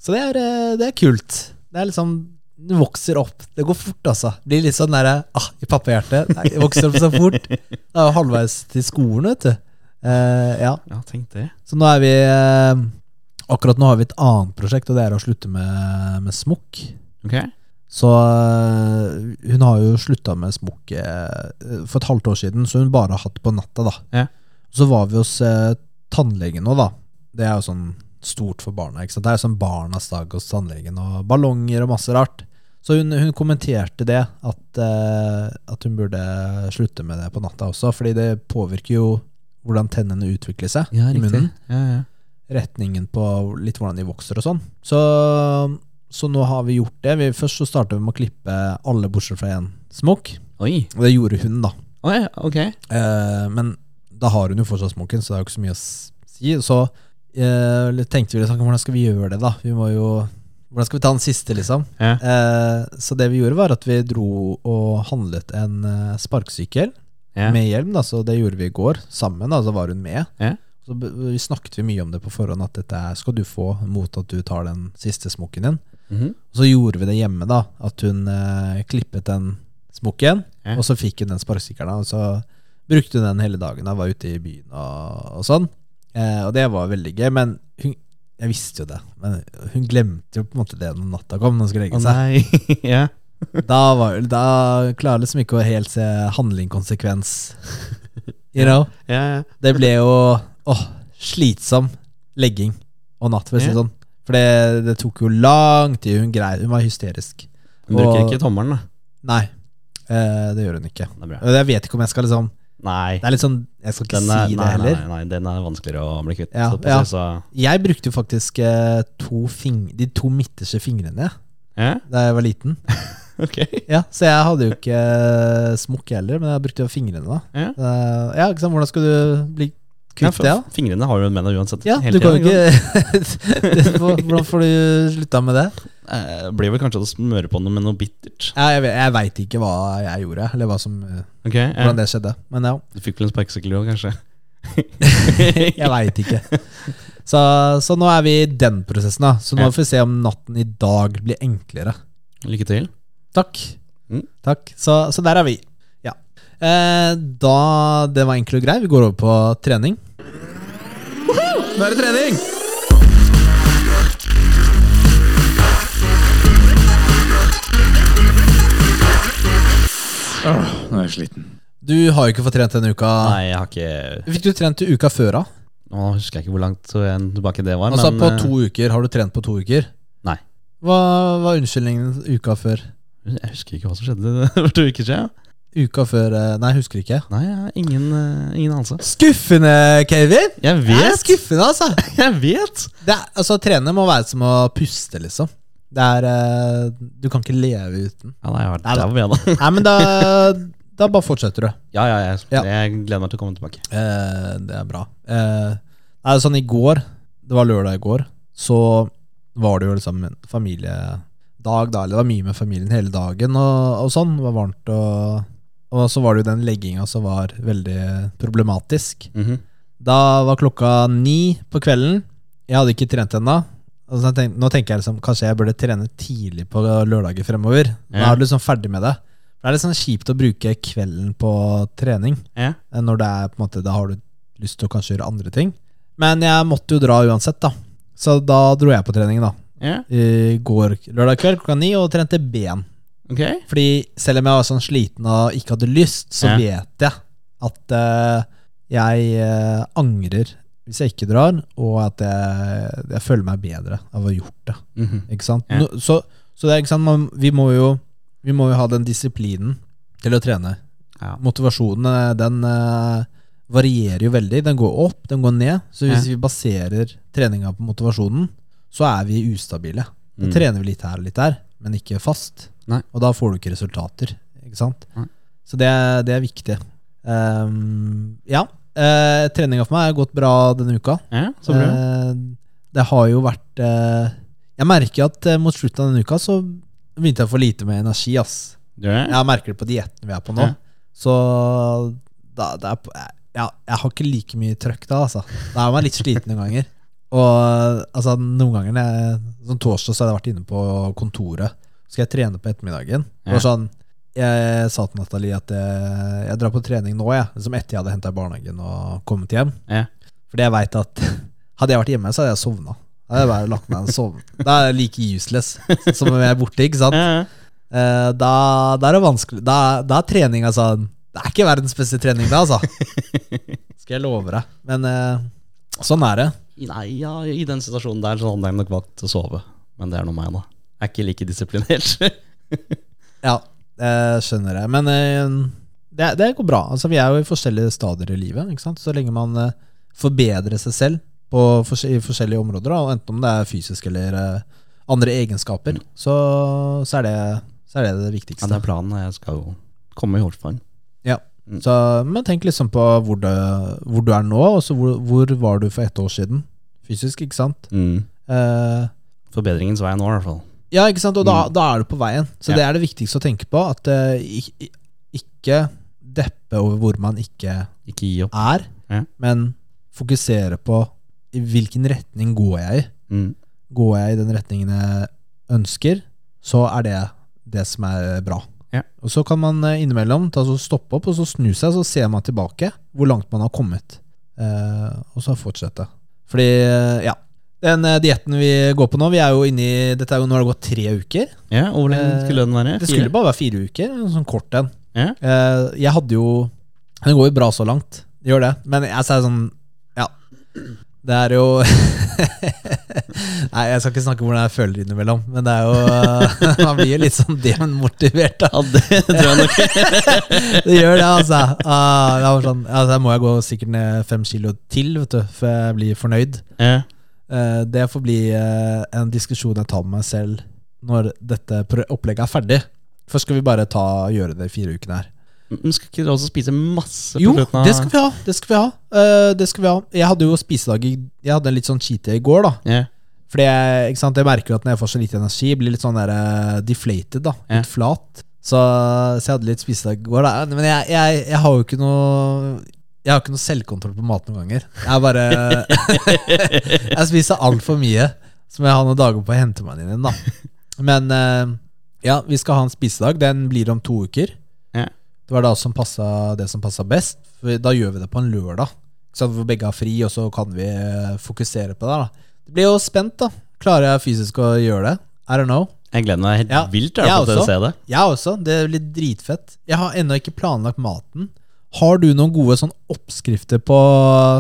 S1: Så det er, eh, det er kult. Det er liksom Du vokser opp. Det går fort, altså. Blir litt sånn derre ah, i pappahjertet. Nei, jeg Vokser opp så fort. Det er jo halvveis til skolen, vet du. Eh, ja.
S2: ja, tenk det.
S1: Så nå er vi eh, Akkurat nå har vi et annet prosjekt, og det er å slutte med, med smokk.
S2: Ok.
S1: Så øh, hun har jo slutta med smokk eh, for et halvt år siden, så hun bare har hatt på natta, da.
S2: Ja.
S1: Så var vi hos eh, tannlegen nå, da. Det er jo sånn stort for barna. ikke sant? Det er jo sånn barnas dag hos tannlegen, og ballonger og masse rart. Så hun, hun kommenterte det, at, eh, at hun burde slutte med det på natta også, fordi det påvirker jo hvordan tennene utvikler seg
S2: Ja,
S1: i
S2: riktig.
S1: munnen.
S2: Ja, ja.
S1: Eh, retningen på litt hvordan de vokser og sånn. Så, så nå har vi gjort det. Vi, først så starta vi med å klippe alle bortsett fra én smokk.
S2: Oi.
S1: Og det gjorde hun, da.
S2: Oi, ok.
S1: Eh, men da har hun jo fortsatt smokken, så det er jo ikke så mye å s- si. Så eh, litt tenkte vi liksom, hvordan skal vi gjøre det, da? Vi må jo Hvordan skal vi ta den siste, liksom?
S2: Ja.
S1: Eh, så det vi gjorde, var at vi dro og handlet en eh, sparkesykkel
S2: Ja.
S1: med hjelm. Da, så det gjorde vi i går sammen. Da, så var hun med.
S2: Ja.
S1: Så b- vi snakket vi mye om det på forhånd, at dette er- skal du få mot at du tar den siste smokken din.
S2: Mhm.
S1: Og så gjorde vi det hjemme, da. At hun eh, klippet den smokken,
S2: Ja.
S1: og så fikk hun den sparkesykkelen. da, Og så brukte hun den hele dagen da, var ute i byen og, og sånn. Eh, og det var veldig gøy. Men hun, jeg visste jo det, men hun glemte jo på en måte det når natta kom. Når hun skulle
S2: Å
S1: legge seg
S2: nei. ja.
S1: da, var, da klarer jeg liksom ikke å helt se handling konsekvens. You know?
S2: Ja, ja.
S1: Det ble jo åh, slitsom legging og natt, for å si det sånn. For det, det tok jo lang tid. Hun greide Hun var hysterisk.
S2: Hun bruker
S1: Og-
S2: ikke tommelen, da.
S1: Nei, eh, det gjør hun ikke.
S2: Det er bra.
S1: Og Jeg vet ikke om jeg skal liksom
S2: Nei.
S1: Det er litt sånn Jeg skal ikke
S2: Den er,
S1: si det
S2: nei, nei,
S1: heller.
S2: nei, nei, den er vanskeligere å bli kvitt.
S1: Ja,
S2: så på
S1: ja.
S2: seg så-
S1: Jeg brukte jo faktisk eh, to fing, de to midterste fingrene jeg,
S2: ja,
S1: da jeg var liten.
S2: ok.
S1: Ja, Så jeg hadde jo ikke eh, smokk heller, men jeg brukte jo fingrene, da.
S2: Ja.
S1: Eh, ja, ikke sant? Hvordan skal du bli
S2: Ja,
S1: kvitt
S2: for
S1: det? da?
S2: Fingrene har du med deg uansett.
S1: Ja,
S2: hele
S1: du kan
S2: tiden,
S1: jo ikke Det får- Hvordan får du slutta med det?
S2: sant? Eh, Blir vel kanskje å smøre på noe med noe bittert.
S1: Ja, jeg vet- jeg veit ikke hva jeg gjorde, eller hva som, eh,
S2: Ok, ja.
S1: hvordan det skjedde. Men ja,
S2: Du fikk vel en sparkesykkel òg, kanskje?
S1: jeg veit ikke. Så, så nå er vi i den prosessen, da. Så nå
S2: Ja.
S1: får vi se om natten i dag blir enklere.
S2: Lykke til.
S1: Takk.
S2: Mm.
S1: Takk. Så, så der er vi. Ja. Eh, da Det var enkelt og greit. Vi går over på trening. Nå er det trening!
S3: Nå er jeg sliten.
S1: Du har jo ikke fått trent denne uka.
S2: Nei, jeg har ikke
S1: Fikk du trent uka før da?
S2: Nå husker jeg ikke hvor langt igjen tilbake det var.
S1: Altså
S2: men,
S1: på
S2: eh,
S1: to uker, har du trent på to uker?
S2: Nei.
S1: Hva var unnskyldningen uka før?
S2: Jeg husker ikke hva som skjedde for to uker siden.
S1: Uka før eh, Nei, husker ikke.
S2: Nei, jeg har ingen, eh, ingen anelse.
S1: Skuffende, Kevin!
S2: Jeg
S1: Det er
S2: vet!
S1: skuffende, altså.
S2: Jeg vet!
S1: Det er, altså! Trene må være som å puste, liksom. Det er eh, Du kan ikke leve uten.
S2: Ja, nei, jeg har vært
S1: Nei, altså. da.
S2: der med, da.
S1: Nei, men da, da bare fortsetter du.
S2: Ja, ja, jeg,
S1: Ja.
S2: jeg gleder meg til å komme tilbake.
S1: Eh, det er bra. Eh, nei, sånn i går, det var lørdag i går, så var det jo liksom en familiedag, da. Eller det var mye med familien hele dagen og, og sånn. Det var varmt og Og så var det jo den legginga som var veldig problematisk.
S2: Mhm.
S1: Da var klokka ni på kvelden. Jeg hadde ikke trent ennå. Og så tenk, nå tenker jeg liksom, kanskje jeg burde trene tidlig på lørdager fremover. Da
S2: Ja.
S1: er du liksom ferdig med det. Det er litt sånn kjipt å bruke kvelden på trening
S2: Ja.
S1: eh, når det er på en måte, da har du lyst til å kanskje gjøre andre ting. Men jeg måtte jo dra uansett, da. Så da dro jeg på trening, da.
S2: Ja,
S1: I går lørdag kveld klokka ni og trente ben.
S2: ok.
S1: Fordi selv om jeg var sånn sliten og ikke hadde lyst, så
S2: Ja.
S1: vet jeg at eh, jeg eh, angrer hvis jeg ikke drar, og at jeg, jeg føler meg bedre av å ha gjort det.
S2: Mhm.
S1: Ikke sant?
S2: Ja.
S1: Nå- så, så det er ikke sant, man, vi, må jo, vi må jo ha den disiplinen til å trene.
S2: Ja.
S1: Motivasjonen eh, den eh, varierer jo veldig. Den går opp, den går ned. Så hvis vi baserer treninga på motivasjonen, så er vi ustabile. Da
S2: Mm.
S1: trener vi litt her og litt der, men ikke fast.
S2: Nei.
S1: Og da får du ikke resultater. Ikke sant?
S2: Nei.
S1: Så det, det er viktig. Ehm, ja. Uh, treninga for meg har gått bra denne uka.
S2: Ja, så bra.
S1: Eh, det har jo vært eh, Jeg merker at eh, mot slutten av denne uka så begynte jeg å få lite med energi. ass
S2: Gjør det?
S1: Jeg merker det på dietten vi er på nå.
S2: Ja.
S1: Så da, det er, på- jeg- ja, jeg har ikke like mye trøkk da, altså. Da er man litt sliten noen ganger. Og altså, noen ganger, når jeg, sånn torsdag, så har jeg vært inne på kontoret. Så skal jeg trene på ettermiddagen. Det var sånn, jeg sa til Nathalie at jeg, jeg drar på trening nå, jeg. Som etter jeg hadde henta i barnehagen og kommet hjem.
S2: Ja.
S1: Fordi jeg veit at hadde jeg vært hjemme, så hadde jeg sovna. Da hadde jeg bare lagt meg og sovnet. Da er jeg like useless som om jeg er borte, ikke sant?
S2: Ja, ja.
S1: Eh, da, da er det vanskelig Da, da er trening altså Det er ikke verdens beste trening da altså Skal jeg love deg Men eh, sånn er det
S2: Nei, ja, i den situasjonen der så hadde jeg nok valgt å sove. Men det er nå meg, da. Jeg er ikke like disiplinert.
S1: Ja, eh, skjønner jeg Men eh, det, det går bra altså, Vi er jo i forskjellige stadier i livet ikke sant? Så lenge man eh, forbedrer seg selv på fors i forskjellige områder, da, og enten om det er fysisk eller eh, andre egenskaper, så, så, er det, så er det det
S2: Ja,
S1: viktigste.
S2: det er planen. Jeg skal jo komme i Holtvann.
S1: Ja.
S2: Mm.
S1: Så, men tenk liksom på hvor, det, hvor du er nå, og så hvor, hvor var du for ett år siden fysisk, ikke sant?
S2: Mm.
S1: Eh,
S2: Forbedringens vei nå, i hvert fall.
S1: ja, ikke sant? Og da, da er du på veien. Så
S2: Mm. Ja.
S1: det er det viktigste å tenke på, at eh, ik- ik- ikke deppe over hvor man ikke
S2: Ikke gi opp.
S1: er,
S2: Ja.
S1: men fokusere på i hvilken retning går jeg i.
S2: Mm.
S1: Går jeg i den retningen jeg ønsker, så er det det som er bra.
S2: Ja.
S1: Og Så kan man eh, innimellom ta så stoppe opp og så snu seg, så ser man tilbake hvor langt man har kommet. Eh, og så fortsette. Fordi, eh, ja Den eh, dietten vi går på nå, vi er jo inne i Dette er jo nå har det gått tre uker.
S2: Ja, Hvor lenge
S1: Eh,
S2: skulle den være?
S1: Det skulle bare være fire uker, en sånn kort en.
S2: Ja.
S1: Eh, jeg hadde jo Den går jo bra så langt, det gjør det. Men jeg sa sånn Ja, det er jo Nei, jeg skal ikke snakke om hvordan jeg føler innimellom, men det er jo Man blir jo litt sånn demotivert, da.
S2: Ja, det tror jeg nok.
S1: Det gjør det, altså. Ah, det var sånn, altså. Jeg må jeg gå sikkert ned fem kilo til vet du, før jeg blir fornøyd.
S2: Ja.
S1: Eh, det får bli eh, en diskusjon jeg tar med meg selv når dette pro- opplegget er ferdig. Først skal vi bare ta, gjøre det i fire ukene her.
S2: Men skal ikke du også spise masse på
S1: Jo,
S2: slutten av
S1: det skal vi ha! Det skal vi ha. Eh, det skal vi ha. Jeg hadde jo spisedag i Jeg hadde en litt sånn cheat day i går, da.
S2: Ja.
S1: Fordi jeg, ikke sant, jeg merker jo at når jeg får så lite energi, jeg blir litt sånn der eh, deflated, da.
S2: Ja.
S1: Litt flat. Så, så jeg hadde litt spisedag i går, da. Men jeg, jeg, jeg har jo ikke noe Jeg har ikke noe selvkontroll på mat noen ganger. Jeg bare Jeg spiser altfor mye. Så må jeg ha noen dager på å hente meg inn igjen, da. Men eh, ja, vi skal ha en spisedag. Den blir om to uker.
S2: Ja.
S1: Det var da som passa, det som passa best. For da gjør vi det på en lørdag. Så hvor begge har fri, og så kan vi eh, fokusere på det. da Det blir jo spent, da. Klarer jeg fysisk å gjøre det? I don't know.
S2: Jeg gleder meg helt
S1: Ja,
S2: vilt
S1: jeg
S2: jeg, for til å
S1: også.
S2: se det.
S1: Jeg også. Det blir dritfett. Jeg har ennå ikke planlagt maten. Har du noen gode sånn oppskrifter på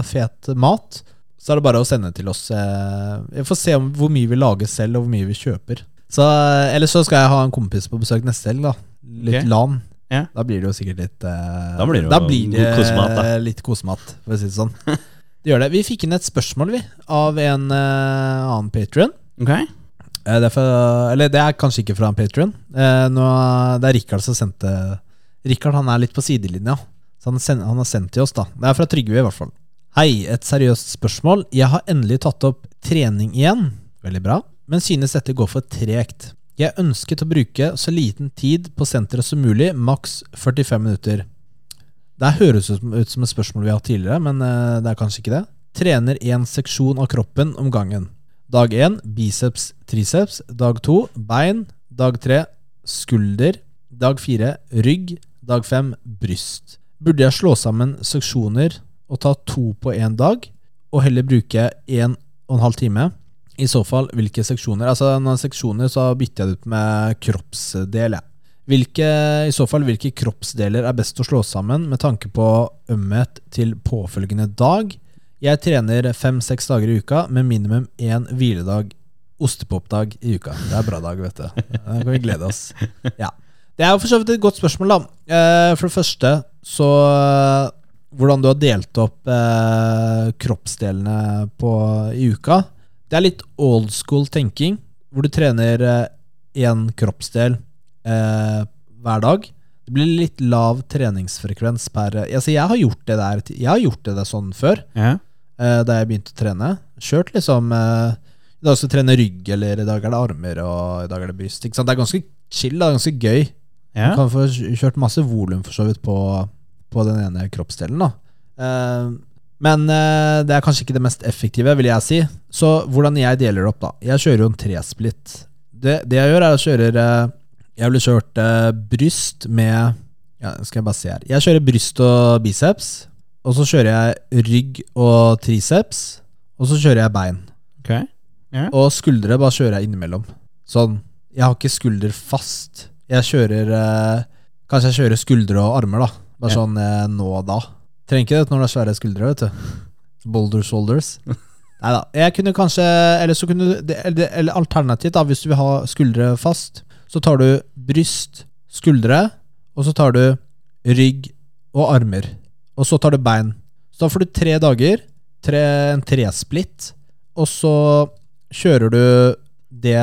S1: fet mat, så er det bare å sende til oss. eh, Vi får se om hvor mye vi lager selv, og hvor mye vi kjøper. Så, eh, eller så skal jeg ha en kompis på besøk neste helg. da Litt
S2: Ok.
S1: LAN.
S2: Ja.
S1: Da blir det jo sikkert litt eh,
S2: Da blir det jo
S1: blir
S2: god
S1: det
S2: kosemat, da.
S1: litt kosemat, for å si det sånn. Det gjør det. Vi fikk inn et spørsmål, vi, av en eh, annen patron.
S2: Ok?
S1: Eh, Det er, fra, eller det er kanskje ikke fra en patron. Eh, nå- det er Rikard som sendte Rikard han er litt på sidelinja. Så han, send, han har sendt til oss, da. Det er fra Trygve, i hvert fall. Hei, et seriøst spørsmål. Jeg har endelig tatt opp trening igjen. Veldig bra. Men synes dette går for tregt. Jeg ønsket å bruke så liten tid på senteret som mulig, maks 45 minutter. Det her høres ut som- ut som et spørsmål vi har hatt tidligere, men eh, det er kanskje ikke det. Trener én seksjon av kroppen om gangen. Dag 1 biceps, triceps. Dag 2 bein. Dag 3 skulder. Dag 4 rygg. Dag 5 bryst. Burde jeg slå sammen seksjoner og ta to på én dag, og heller bruke én og en halv time? I så fall, hvilke seksjoner? Altså, når det er seksjoner, så bytter jeg det ut med kroppsdel, jeg. Hvilke, I så fall, hvilke kroppsdeler er best å slå sammen med tanke på ømhet til påfølgende dag? Jeg trener fem-seks dager i uka med minimum én hviledag, ostepopdag, i uka. Det er bra dag, vet du. Da kan vi glede oss. Ja. Det er jo for så vidt et godt spørsmål, da. Eh, For det første så eh, Hvordan du har delt opp eh, kroppsdelene på, i uka. Det er litt old school tenking, hvor du trener én kroppsdel eh, hver dag. Det blir litt lav treningsfrekvens per altså Jeg har gjort det der ti- Jeg har gjort det der sånn før
S2: Ja.
S1: eh, da jeg begynte å trene. Kjørt liksom eh, I dag skal jeg trene rygg, eller i dag er det armer, og i dag er det bryst. Ikke sant? Det er ganske chill, det er ganske gøy.
S2: Ja.
S1: Du kan få kjørt masse volum for så vidt på, på den ene kroppsdelen. da Eh, Men eh, det er kanskje ikke det mest effektive, vil jeg si. Så hvordan jeg deler det opp, da. Jeg kjører jo en tresplitt. Det, det jeg gjør, er å kjøre eh, Jeg ville kjørt eh, bryst med ja, Skal jeg bare se her. Jeg kjører bryst og biceps. Og så kjører jeg rygg og triceps. Og så kjører jeg bein.
S2: Ok.
S1: Og skuldre bare kjører jeg innimellom. Sånn. Jeg har ikke skulder fast. Jeg kjører eh, Kanskje jeg kjører skuldre og armer, da. Bare
S2: Ja.
S1: sånn eh, nå og da. Trenger ikke det når det er svære skuldre, vet du. Boulder shoulders. Nei da. Jeg kunne kanskje Eller så kunne du det- Eller, eller alternativt, da, hvis du vil ha skuldre fast, så tar du bryst, skuldre, og så tar du rygg og armer. Og så tar du bein. Så da får du tre dager tre, en tresplitt, og så kjører du det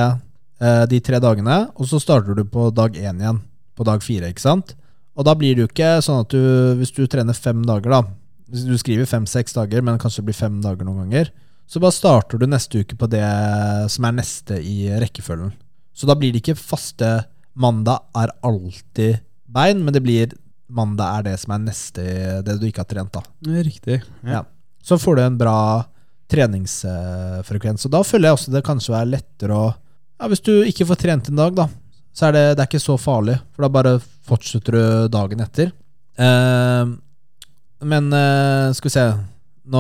S1: eh, de tre dagene, og så starter du på dag én igjen, på dag fire, ikke sant? Og da blir det jo ikke sånn at du, hvis du trener fem dager, da hvis Du skriver fem-seks dager, men kanskje det blir fem dager noen ganger. Så bare starter du neste uke på det som er neste i rekkefølgen. Så da blir det ikke faste mandag er alltid bein, men det blir mandag er det som er neste det du ikke har trent, da.
S2: Riktig. Ja.
S1: Ja. Så får du en bra treningsfrekvens. Og da føler jeg også det kanskje er lettere å ja, Hvis du ikke får trent en dag, da, så er det, det er ikke så farlig. For da bare fortsetter du dagen etter. Eh, men eh, skal vi se Nå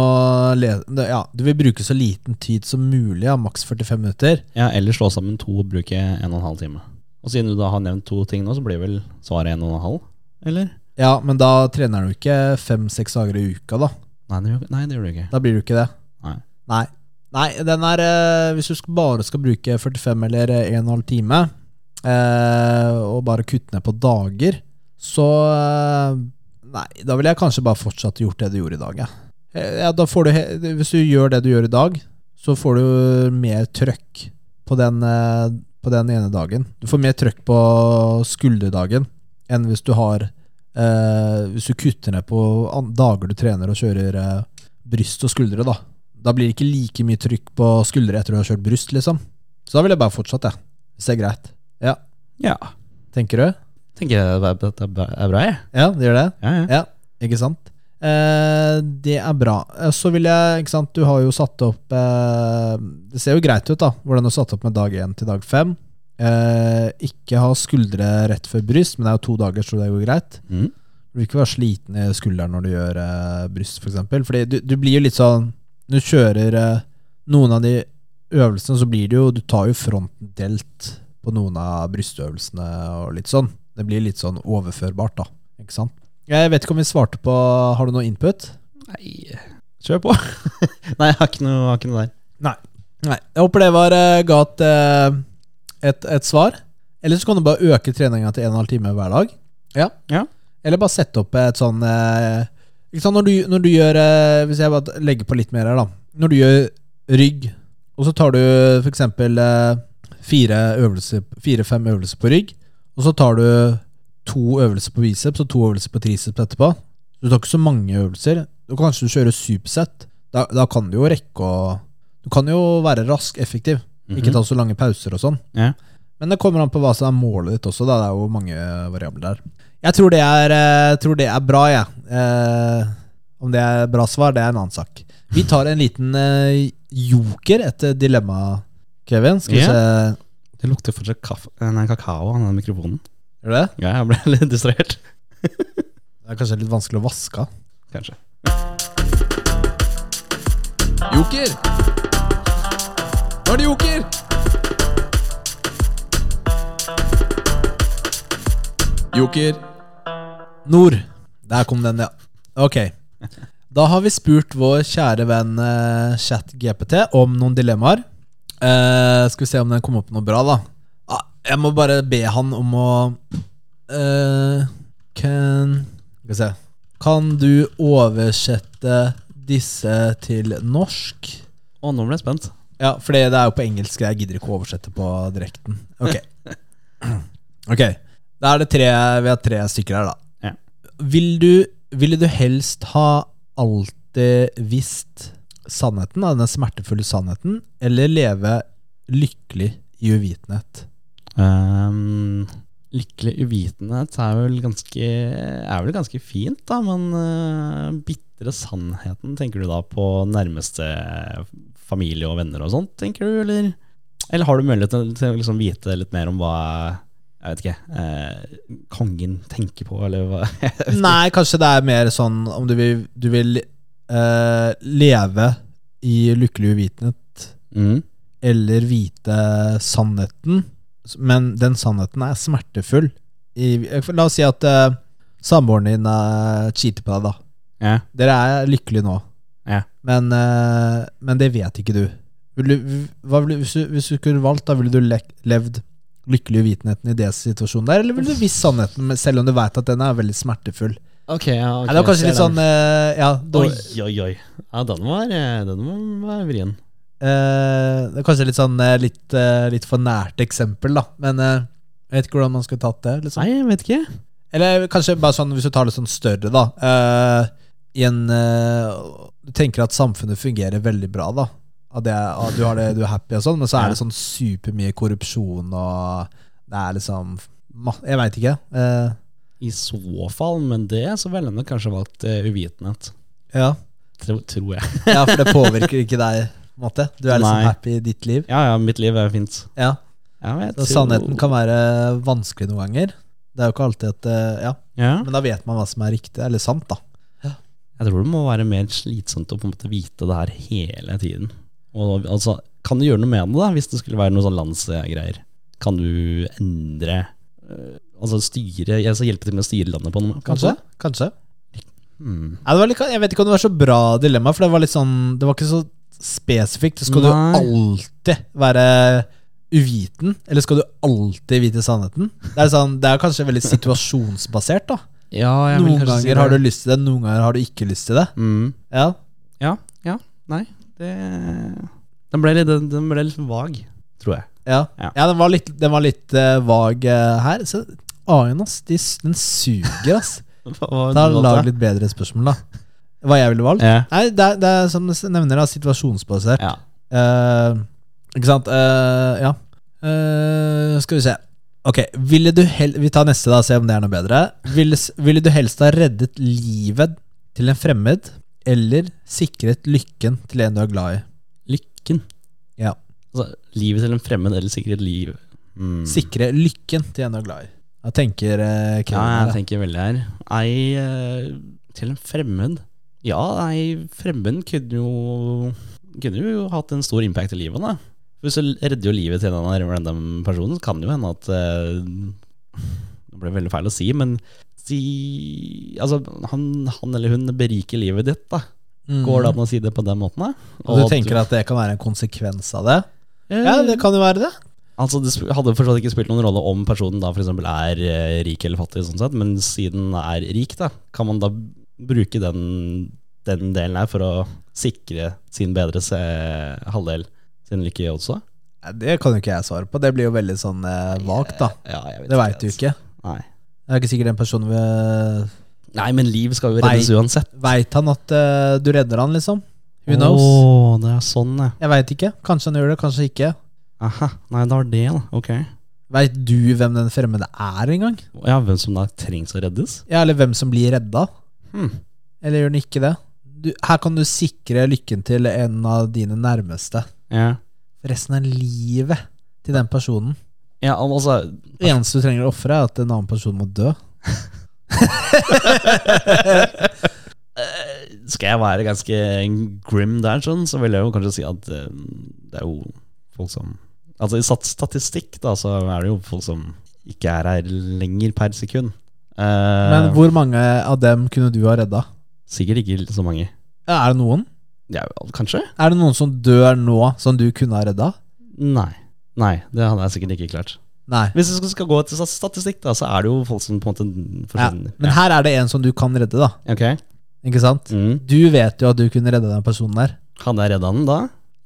S1: le- Ja, du vil bruke så liten tid som mulig, ja, maks 45 minutter.
S2: ja, Eller slå sammen to og bruke en og en halv time. Og siden du da har nevnt to ting nå, så blir vel svaret en og en halv? Eller?
S1: Ja, men da trener du ikke fem-seks dager i uka, da.
S2: Nei, det gjør, nei, det gjør du ikke.
S1: Da blir du ikke det.
S2: Nei.
S1: Nei. Nei, den er eh, Hvis du skal, bare skal bruke 45 eller 1,5 time, eh, og bare kutte ned på dager, så eh, Nei, da ville jeg kanskje bare fortsatt gjort det du gjorde i dag, jeg. Eh, Ja, da får du, he- hvis du gjør det du gjør i dag, så får du mer trøkk på den, eh, på den ene dagen. Du får mer trøkk på skulderdagen enn hvis du har eh, Hvis du kutter ned på an dager du trener og kjører eh, bryst og skuldre, da. Da blir det ikke like mye trykk på skuldre etter du har kjørt bryst, liksom. Så da vil jeg bare fortsette, jeg. Hvis det er greit. Ja,
S2: Ja.
S1: tenker du?
S2: Tenker jeg det er- dette er bra- er bra, jeg.
S1: Ja, det gjør det?
S2: Ja, ja.
S1: Ja, ikke sant? Eh, det er bra. Eh, Så vil jeg, ikke sant, du har jo satt opp eh, Det ser jo greit ut, da, hvordan du har satt opp med dag én til dag fem. Eh, ikke ha skuldre rett før bryst, men det er jo to dager, så det går greit.
S2: Mm.
S1: Du vil ikke være sliten i skulderen når du gjør eh, bryst, f.eks. Fordi du, du blir jo litt sånn Når du kjører eh, noen av de øvelsene, så blir det jo Du tar jo fronten delt på noen av brystøvelsene og litt sånn. Det blir litt sånn overførbart, da. Ikke sant? Jeg vet ikke om vi svarte på Har du noe input?
S2: Nei, kjør på. nei, jeg har ikke noe, har ikke noe der.
S1: Nei. Jeg håper det var eh, ga et, eh, et, et svar. Eller så kan du bare øke treninga til 1,5 time hver dag. Ja.
S2: Ja.
S1: Eller bare sette opp et sånn eh, ikke sant? Når, du, når du gjør eh, Hvis jeg bare legger på litt mer her, da. Når du gjør rygg, og så tar du f.eks. fire øvelser fire-fem øvelser på rygg, og så tar du to øvelser på biceps og to øvelser på triceps etterpå. Du tar ikke så mange øvelser. Du kan kanskje kjøre supersett. Da, da kan du jo rekke å Du kan jo være rask, effektiv.
S2: Mhm.
S1: Ikke ta så lange pauser og sånn.
S2: Ja.
S1: Men det kommer an på hva som er målet ditt også. Da. Det er jo mange eh, variabler der. Jeg tror det er, eh, tror det er bra, jeg. Eh, om det er bra svar, det er en annen sak. Vi tar en liten eh, joker etter dilemma, Kevin. Skal vi
S2: Ja.
S1: se
S2: Det lukter fortsatt kaffe, nei, kakao av den mikrofonen.
S1: Gjør det?
S2: Ja, jeg ble litt distrahert.
S1: Det er kanskje litt vanskelig å vaske av.
S2: Kanskje.
S1: Joker! Nå er det joker! Joker. Nord. Der kom den, ja. Ok. Da har vi spurt vår kjære venn eh, ChatGPT om noen dilemmaer. Eh, skal vi se om den kom opp noe bra, da. Ah, jeg må bare be han om å eh, Kan Skal vi se. Kan du oversette disse til norsk?
S2: Å, nå ble jeg spent.
S1: Ja, for det er jo på engelsk. Jeg gidder ikke å oversette på direkten. Ok. Ok, Da er det tre Vi har tre stykker her, da.
S2: Ja.
S1: Vil du, ville du helst ha alltid visst sannheten, da, den smertefulle sannheten, eller leve lykkelig i uvitenhet?
S2: Ehm, lykkelig uvitenhet er vel ganske, er vel ganske fint, da, men uh, bitre sannheten, tenker du da på nærmeste familie og venner og sånt, tenker du, eller? Eller har du mulighet til, til å liksom vite litt mer om hva jeg vet ikke, eh, kongen tenker på, eller hva? Jeg vet ikke.
S1: Nei, kanskje det er mer sånn om du vil, du vil eh, leve i lykkelig uvitenhet,
S2: Mm.
S1: eller vite sannheten, men den sannheten er smertefull. I, la oss si at eh, samboeren din eh, cheater på deg, da.
S2: Ja.
S1: Dere er lykkelige nå,
S2: Ja.
S1: men, eh, men det vet ikke du. Vil du hva vil, du- hvis, du, hvis du kunne valgt, da ville du lek, levd lykkelig uvitenheten i det situasjonen der, eller ville du visst sannheten, men selv om du veit at den er veldig smertefull?
S2: Ok, ja,
S1: Nei,
S2: ok,
S1: det var
S2: ser
S1: kanskje litt
S2: den.
S1: sånn eh, Ja,
S2: Oi,
S1: dårlig
S2: oi, oi. Ja, den var, eh, den var- var vrien.
S1: Eh, det er kanskje litt sånn eh, litt, eh, litt for nært eksempel, da. Men eh, jeg vet ikke hvordan man skulle tatt det. Liksom.
S2: Nei, jeg vet ikke.
S1: Eller kanskje bare sånn hvis du tar det sånn større, da. Eh, i en, eh, du tenker at samfunnet fungerer veldig bra, da. At det, er- at du, har det, du er happy og sånn, men så er det sånn supermye korrupsjon og Det er liksom ma- Jeg veit ikke. Eh,
S2: I så fall, men det så ville jeg nok kanskje valgt eh, uvitenhet.
S1: ja.
S2: Tro, tror jeg.
S1: ja, for det påvirker ikke deg, på en måte. Du er liksom
S2: Nei.
S1: happy i ditt liv.
S2: Ja, ja, mitt liv er fint.
S1: Ja.
S2: Ja, men jeg
S1: Så
S2: tror-
S1: sannheten kan være vanskelig noen ganger. Det er jo ikke alltid at eh, Ja.
S2: Ja,
S1: Men da vet man hva som er riktig, eller sant, da.
S2: jeg tror det må være mer slitsomt å på en måte vite det her hele tiden. Og altså, kan du gjøre noe med det da, hvis det skulle være noe sånn landsgreier? Kan du endre, eh, altså styre, jeg skal hjelpe til med å styre landet på noe,
S1: Kanskje?
S2: kanskje?
S1: Kanskje.
S2: Hmm.
S1: Nei, det var litt, jeg vet ikke om det var så bra dilemma, for det var litt sånn Det var ikke så spesifikt. Skal du
S2: Nei.
S1: alltid være uviten, eller skal du alltid vite sannheten? Det er, sånn, det er kanskje veldig situasjonsbasert, da.
S2: Ja, jeg vil
S1: Noen
S2: kanskje si
S1: ganger har du
S2: det.
S1: lyst til det, noen ganger har du ikke lyst til det.
S2: Hmm.
S1: Ja,
S2: Ja, ja, nei, det, den ble litt, den- den ble litt vag, tror jeg.
S1: ja.
S2: Ja.
S1: ja. den var litt, den var litt eh, vag eh, her. Så AI-en, ass, de, s- den suger, ass.
S2: Hva- hva-
S1: Da
S2: du valgte?
S1: lag litt bedre spørsmål, da. Hva jeg ville valgt?
S2: Ja.
S1: Nei, det er, det er som du nevner, da, situasjonsbasert.
S2: Ja.
S1: Eh, ikke sant? Eh, ja. Eh, skal vi se. Ok, ville du hel Vi tar neste, da, se om det er noe bedre. Ville, s- ville du helst ha reddet livet til en fremmed, eller sikret lykken til en du er glad i?
S2: Lykken.
S1: Ja.
S2: Altså, livet til en fremmed eller sikkert liv. Hmm.
S1: Sikre lykken til en du er glad i. Jeg tenker eh, Kevin
S2: Ja,
S1: her,
S2: jeg tenker veldig her. Ei eh, til en fremmed. Ja, ei fremmed kunne jo Kunne jo hatt en stor impact i livet, da. Hvis du redder jo livet til en eller annen random person, så kan det jo hende at eh, Det ble veldig feil å si, men si Altså, han, han eller hun beriker livet ditt, da.
S1: Mm.
S2: Går det an å si det på den måten, da?
S1: Og du tenker at det kan være en konsekvens av det? Ja, det kan jo være det.
S2: Altså Det sp- hadde fortsatt ikke spilt noen rolle om personen da for eksempel er eh, rik eller fattig, sånn sett, men siden den er rik, da kan man da bruke den, den delen her for å sikre sin bedre se, halvdel sin lykke også?
S1: Nei, Det kan jo ikke jeg svare på. Det blir jo veldig sånn eh, vagt, da.
S2: Ja, jeg vet altså.
S1: Det veit du ikke.
S2: Nei.
S1: Det er ikke sikkert den personen vil
S2: Nei, men liv skal jo
S1: Nei.
S2: reddes uansett.
S1: Veit han at eh, du redder han, liksom? Who knows?
S2: Åh, det er sånn, ja.
S1: Jeg veit ikke. Kanskje han gjør det, kanskje ikke.
S2: Aha. Nei, det var det, da. Ok.
S1: Veit du hvem den fremmede er, engang?
S2: Ja, hvem som da trengs å reddes?
S1: Ja, eller hvem som blir redda?
S2: Hmm.
S1: Eller gjør den ikke det? Du, her kan du sikre lykken til en av dine nærmeste.
S2: Ja.
S1: Resten av livet til den personen.
S2: ja, altså
S1: Det eneste du trenger å ofre, er at en annen person må dø.
S2: Eh, Skal jeg være ganske grim der, sånn, så vil jeg jo kanskje si at eh, det er jo folk som Altså i stat- statistikk, da, så er det jo folk som ikke er her lenger per sekund. Eh,
S1: Men hvor mange av dem kunne du ha redda?
S2: sikkert ikke så mange.
S1: Ja, Er det noen?
S2: Det er jo, kanskje?
S1: Er det noen som dør nå, som du kunne ha redda?
S2: Nei. Nei, det hadde jeg sikkert ikke klart.
S1: Nei.
S2: Hvis vi skal gå til stat- statistikk, da, så er det jo folk som på en måte
S1: Ja.
S2: forsvinner.
S1: Men her er det en som du kan redde, da.
S2: Ja, ok.
S1: Ikke sant?
S2: Mm.
S1: Du vet jo at du kunne redda den personen der.
S2: Hadde jeg redda den da?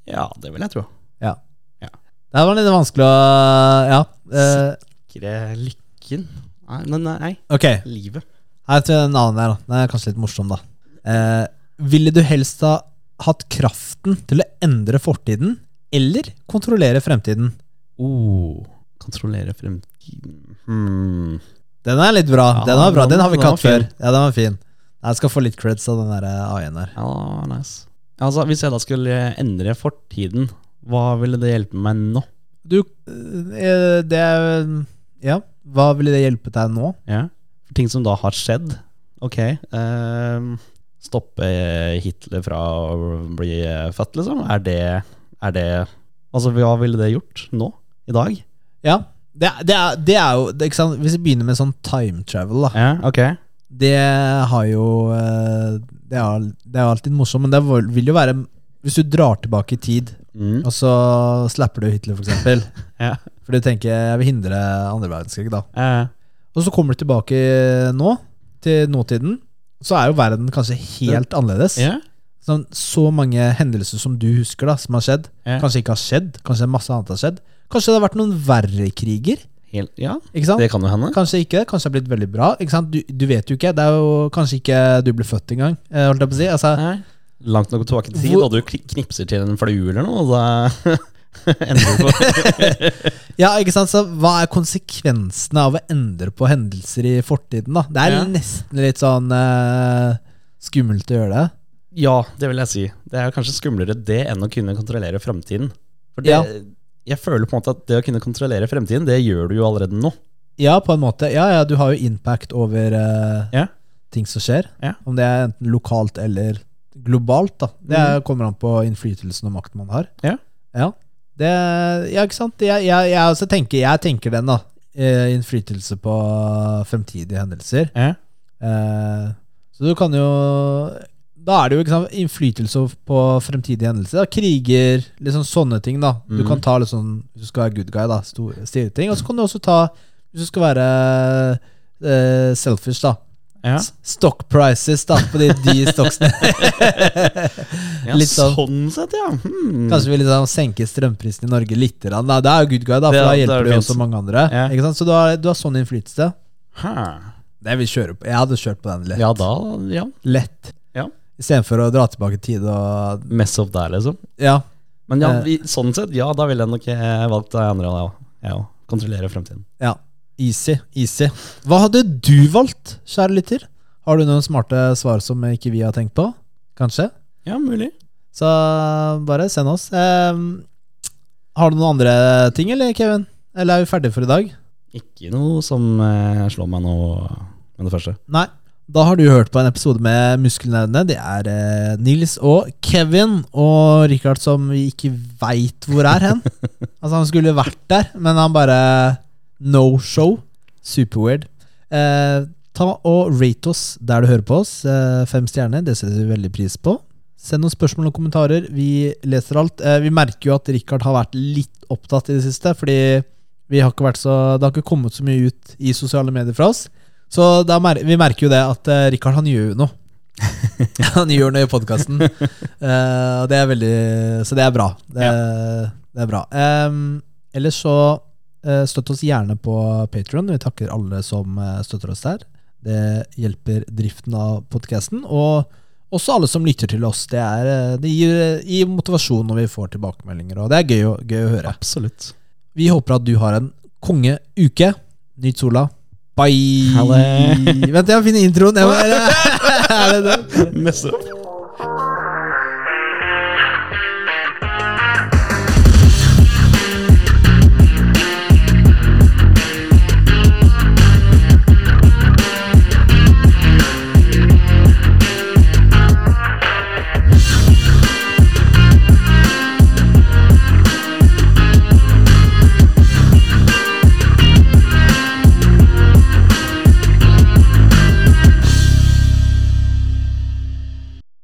S2: Ja, det vil jeg tro.
S1: Det var litt vanskelig å Ja. eh,
S2: Sikre lykken Nei, nei, nei.
S1: ok,
S2: Livet.
S1: her til en annen der. da. Den er kanskje litt morsom, da. Eh, ville du helst ha hatt kraften til å endre fortiden eller kontrollere fremtiden?
S2: Oh, kontrollere fremtiden hmm.
S1: Den er litt bra.
S2: Ja,
S1: den var bra, den har vi
S2: den
S1: ikke
S2: var
S1: hatt før. Ja, den var fin. Jeg skal få litt creds av den der AI-en her.
S2: Ja, nice. Altså, hvis jeg da skulle endre fortiden, hva ville det hjelpe meg nå?
S1: Du, eh, det er- Ja, hva ville det hjelpe deg nå?
S2: Ja. For ting som da har skjedd. Ok. ehm, stoppe Hitler fra å bli født, liksom? Er det, er det Altså, hva ville det gjort nå? I dag?
S1: Ja, det, er- det, er, det er jo det, ikke sant? Hvis vi begynner med sånn time travel, da.
S2: Ja, ok.
S1: Det har jo eh, Det er, al- det er jo alltid morsomt, men det vil vil jo være Hvis du drar tilbake i tid,
S2: Mm.
S1: og så slapper du Hitler, for eksempel
S2: Ja.
S1: For du tenker 'jeg vil hindre andre verdenskrig', da.
S2: Eh,
S1: Og så kommer du tilbake nå, til nåtiden, så er jo verden kanskje helt annerledes.
S2: Ja.
S1: Sånn, så mange hendelser som du husker, da som har skjedd,
S2: Ja.
S1: kanskje ikke har skjedd. Kanskje masse annet har skjedd. Kanskje det har vært noen verre kriger.
S2: Helt, ja,
S1: Ikke sant?
S2: det kan jo hende.
S1: Kanskje ikke det. Kanskje det har blitt veldig bra. Ikke sant? Du, du vet jo ikke. Det er jo kanskje ikke du ble født engang. eh, Holdt jeg på å si. Altså,
S2: Nei. Langt nok tilbake til tid,
S1: Hvor-
S2: og du kn- knipser til en flue eller noe, og da ender du på
S1: ja, ikke sant? Så hva er konsekvensene av å endre på hendelser i fortiden? da? Det er
S2: Ja.
S1: nesten litt sånn eh, skummelt å gjøre det.
S2: Ja, det vil jeg si. Det er kanskje skumlere det enn å kunne kontrollere framtiden. For det,
S1: Ja.
S2: jeg føler på en måte at det å kunne kontrollere fremtiden, det gjør du jo allerede nå.
S1: Ja, på en måte. Ja, ja, du har jo impact over eh,
S2: Ja.
S1: ting som skjer.
S2: Ja.
S1: Om det er enten lokalt eller globalt. da. Det er- kommer an på innflytelsen og makten man har.
S2: Mm. Ja.
S1: Ja, det, ja ikke sant? Jeg, jeg, jeg, også tenker, jeg tenker den, da. Eh, Innflytelse på eh, fremtidige hendelser.
S2: Ja.
S1: Eh, så du kan jo Da er det jo ikke sant, innflytelse på fremtidige hendelser. Da. Kriger, liksom sånne ting. da Du
S2: Mhm.
S1: kan ta litt sånn Hvis du skal være good guy, da store, stille ting. Og så kan du også ta Hvis du skal være eh, selfish, da.
S2: Ja.
S1: S- Stock prices da på de, de stocksene. litt sånn.
S2: sånn sett, ja. Hmm.
S1: Kanskje vi liksom senker strømprisen i Norge litt. grann, Da. Det er jo good guy, da, for
S2: Det er-
S1: da
S2: det er
S1: hjelper
S2: det
S1: du jo
S2: fint.
S1: også mange andre.
S2: Ja.
S1: Ikke sant? Så du har, du har sånn innflytelse.
S2: Hæ.
S1: Det vil kjøre på. Jeg hadde kjørt på den lett.
S2: Ja, da ja.
S1: lett.
S2: Ja.
S1: Istedenfor å dra tilbake tid og
S2: Mess opp der, liksom.
S1: Ja.
S2: Men ja,
S1: Eh.
S2: vi, sånn sett, ja, da ville jeg nok eh, valgt det andre. Ja, ja, ja. Kontrollere fremtiden.
S1: ja. Easy. Easy. Hva hadde du valgt, kjære lytter? Har du noen smarte svar som ikke vi har tenkt på? Kanskje?
S2: Ja, mulig.
S1: Så bare send oss. Eh, har du noen andre ting, eller, Kevin? Eller er vi ferdige for i dag?
S2: Ikke noe som eh, slår meg nå med det første.
S1: Nei. Da har du hørt på en episode med Muskelnerdene. Det er eh, Nils og Kevin og Richard som vi ikke veit hvor er hen. altså Han skulle vært der, men han bare No show. Superweird. Eh, ta og rate oss der du hører på oss. Eh, fem stjerner, det setter vi veldig pris på. Send noen spørsmål og kommentarer. Vi leser alt. Eh, vi merker jo at Richard har vært litt opptatt i det siste, fordi vi har ikke vært så, det har ikke kommet så mye ut i sosiale medier fra oss. Så da mer vi merker jo det at eh, Rikard han gjør jo noe. han gjør noe i podkasten. og det er veldig Så det er bra. Det, det er bra. Em, ellers så eh, støtt oss gjerne på Patron. Vi takker alle som eh, støtter oss der. Det hjelper driften av podkasten. Og også alle som lytter til oss. Det, er, eh, det gir, gir motivasjon når vi får tilbakemeldinger, og det er gøy, å- gøy å høre.
S2: Absolutt.
S1: Vi håper at du har en kongeuke. Nyt sola. Bye!
S2: Ha det.
S1: Vent, jeg må finne introen. Jeg må, er det den?
S2: Messe opp.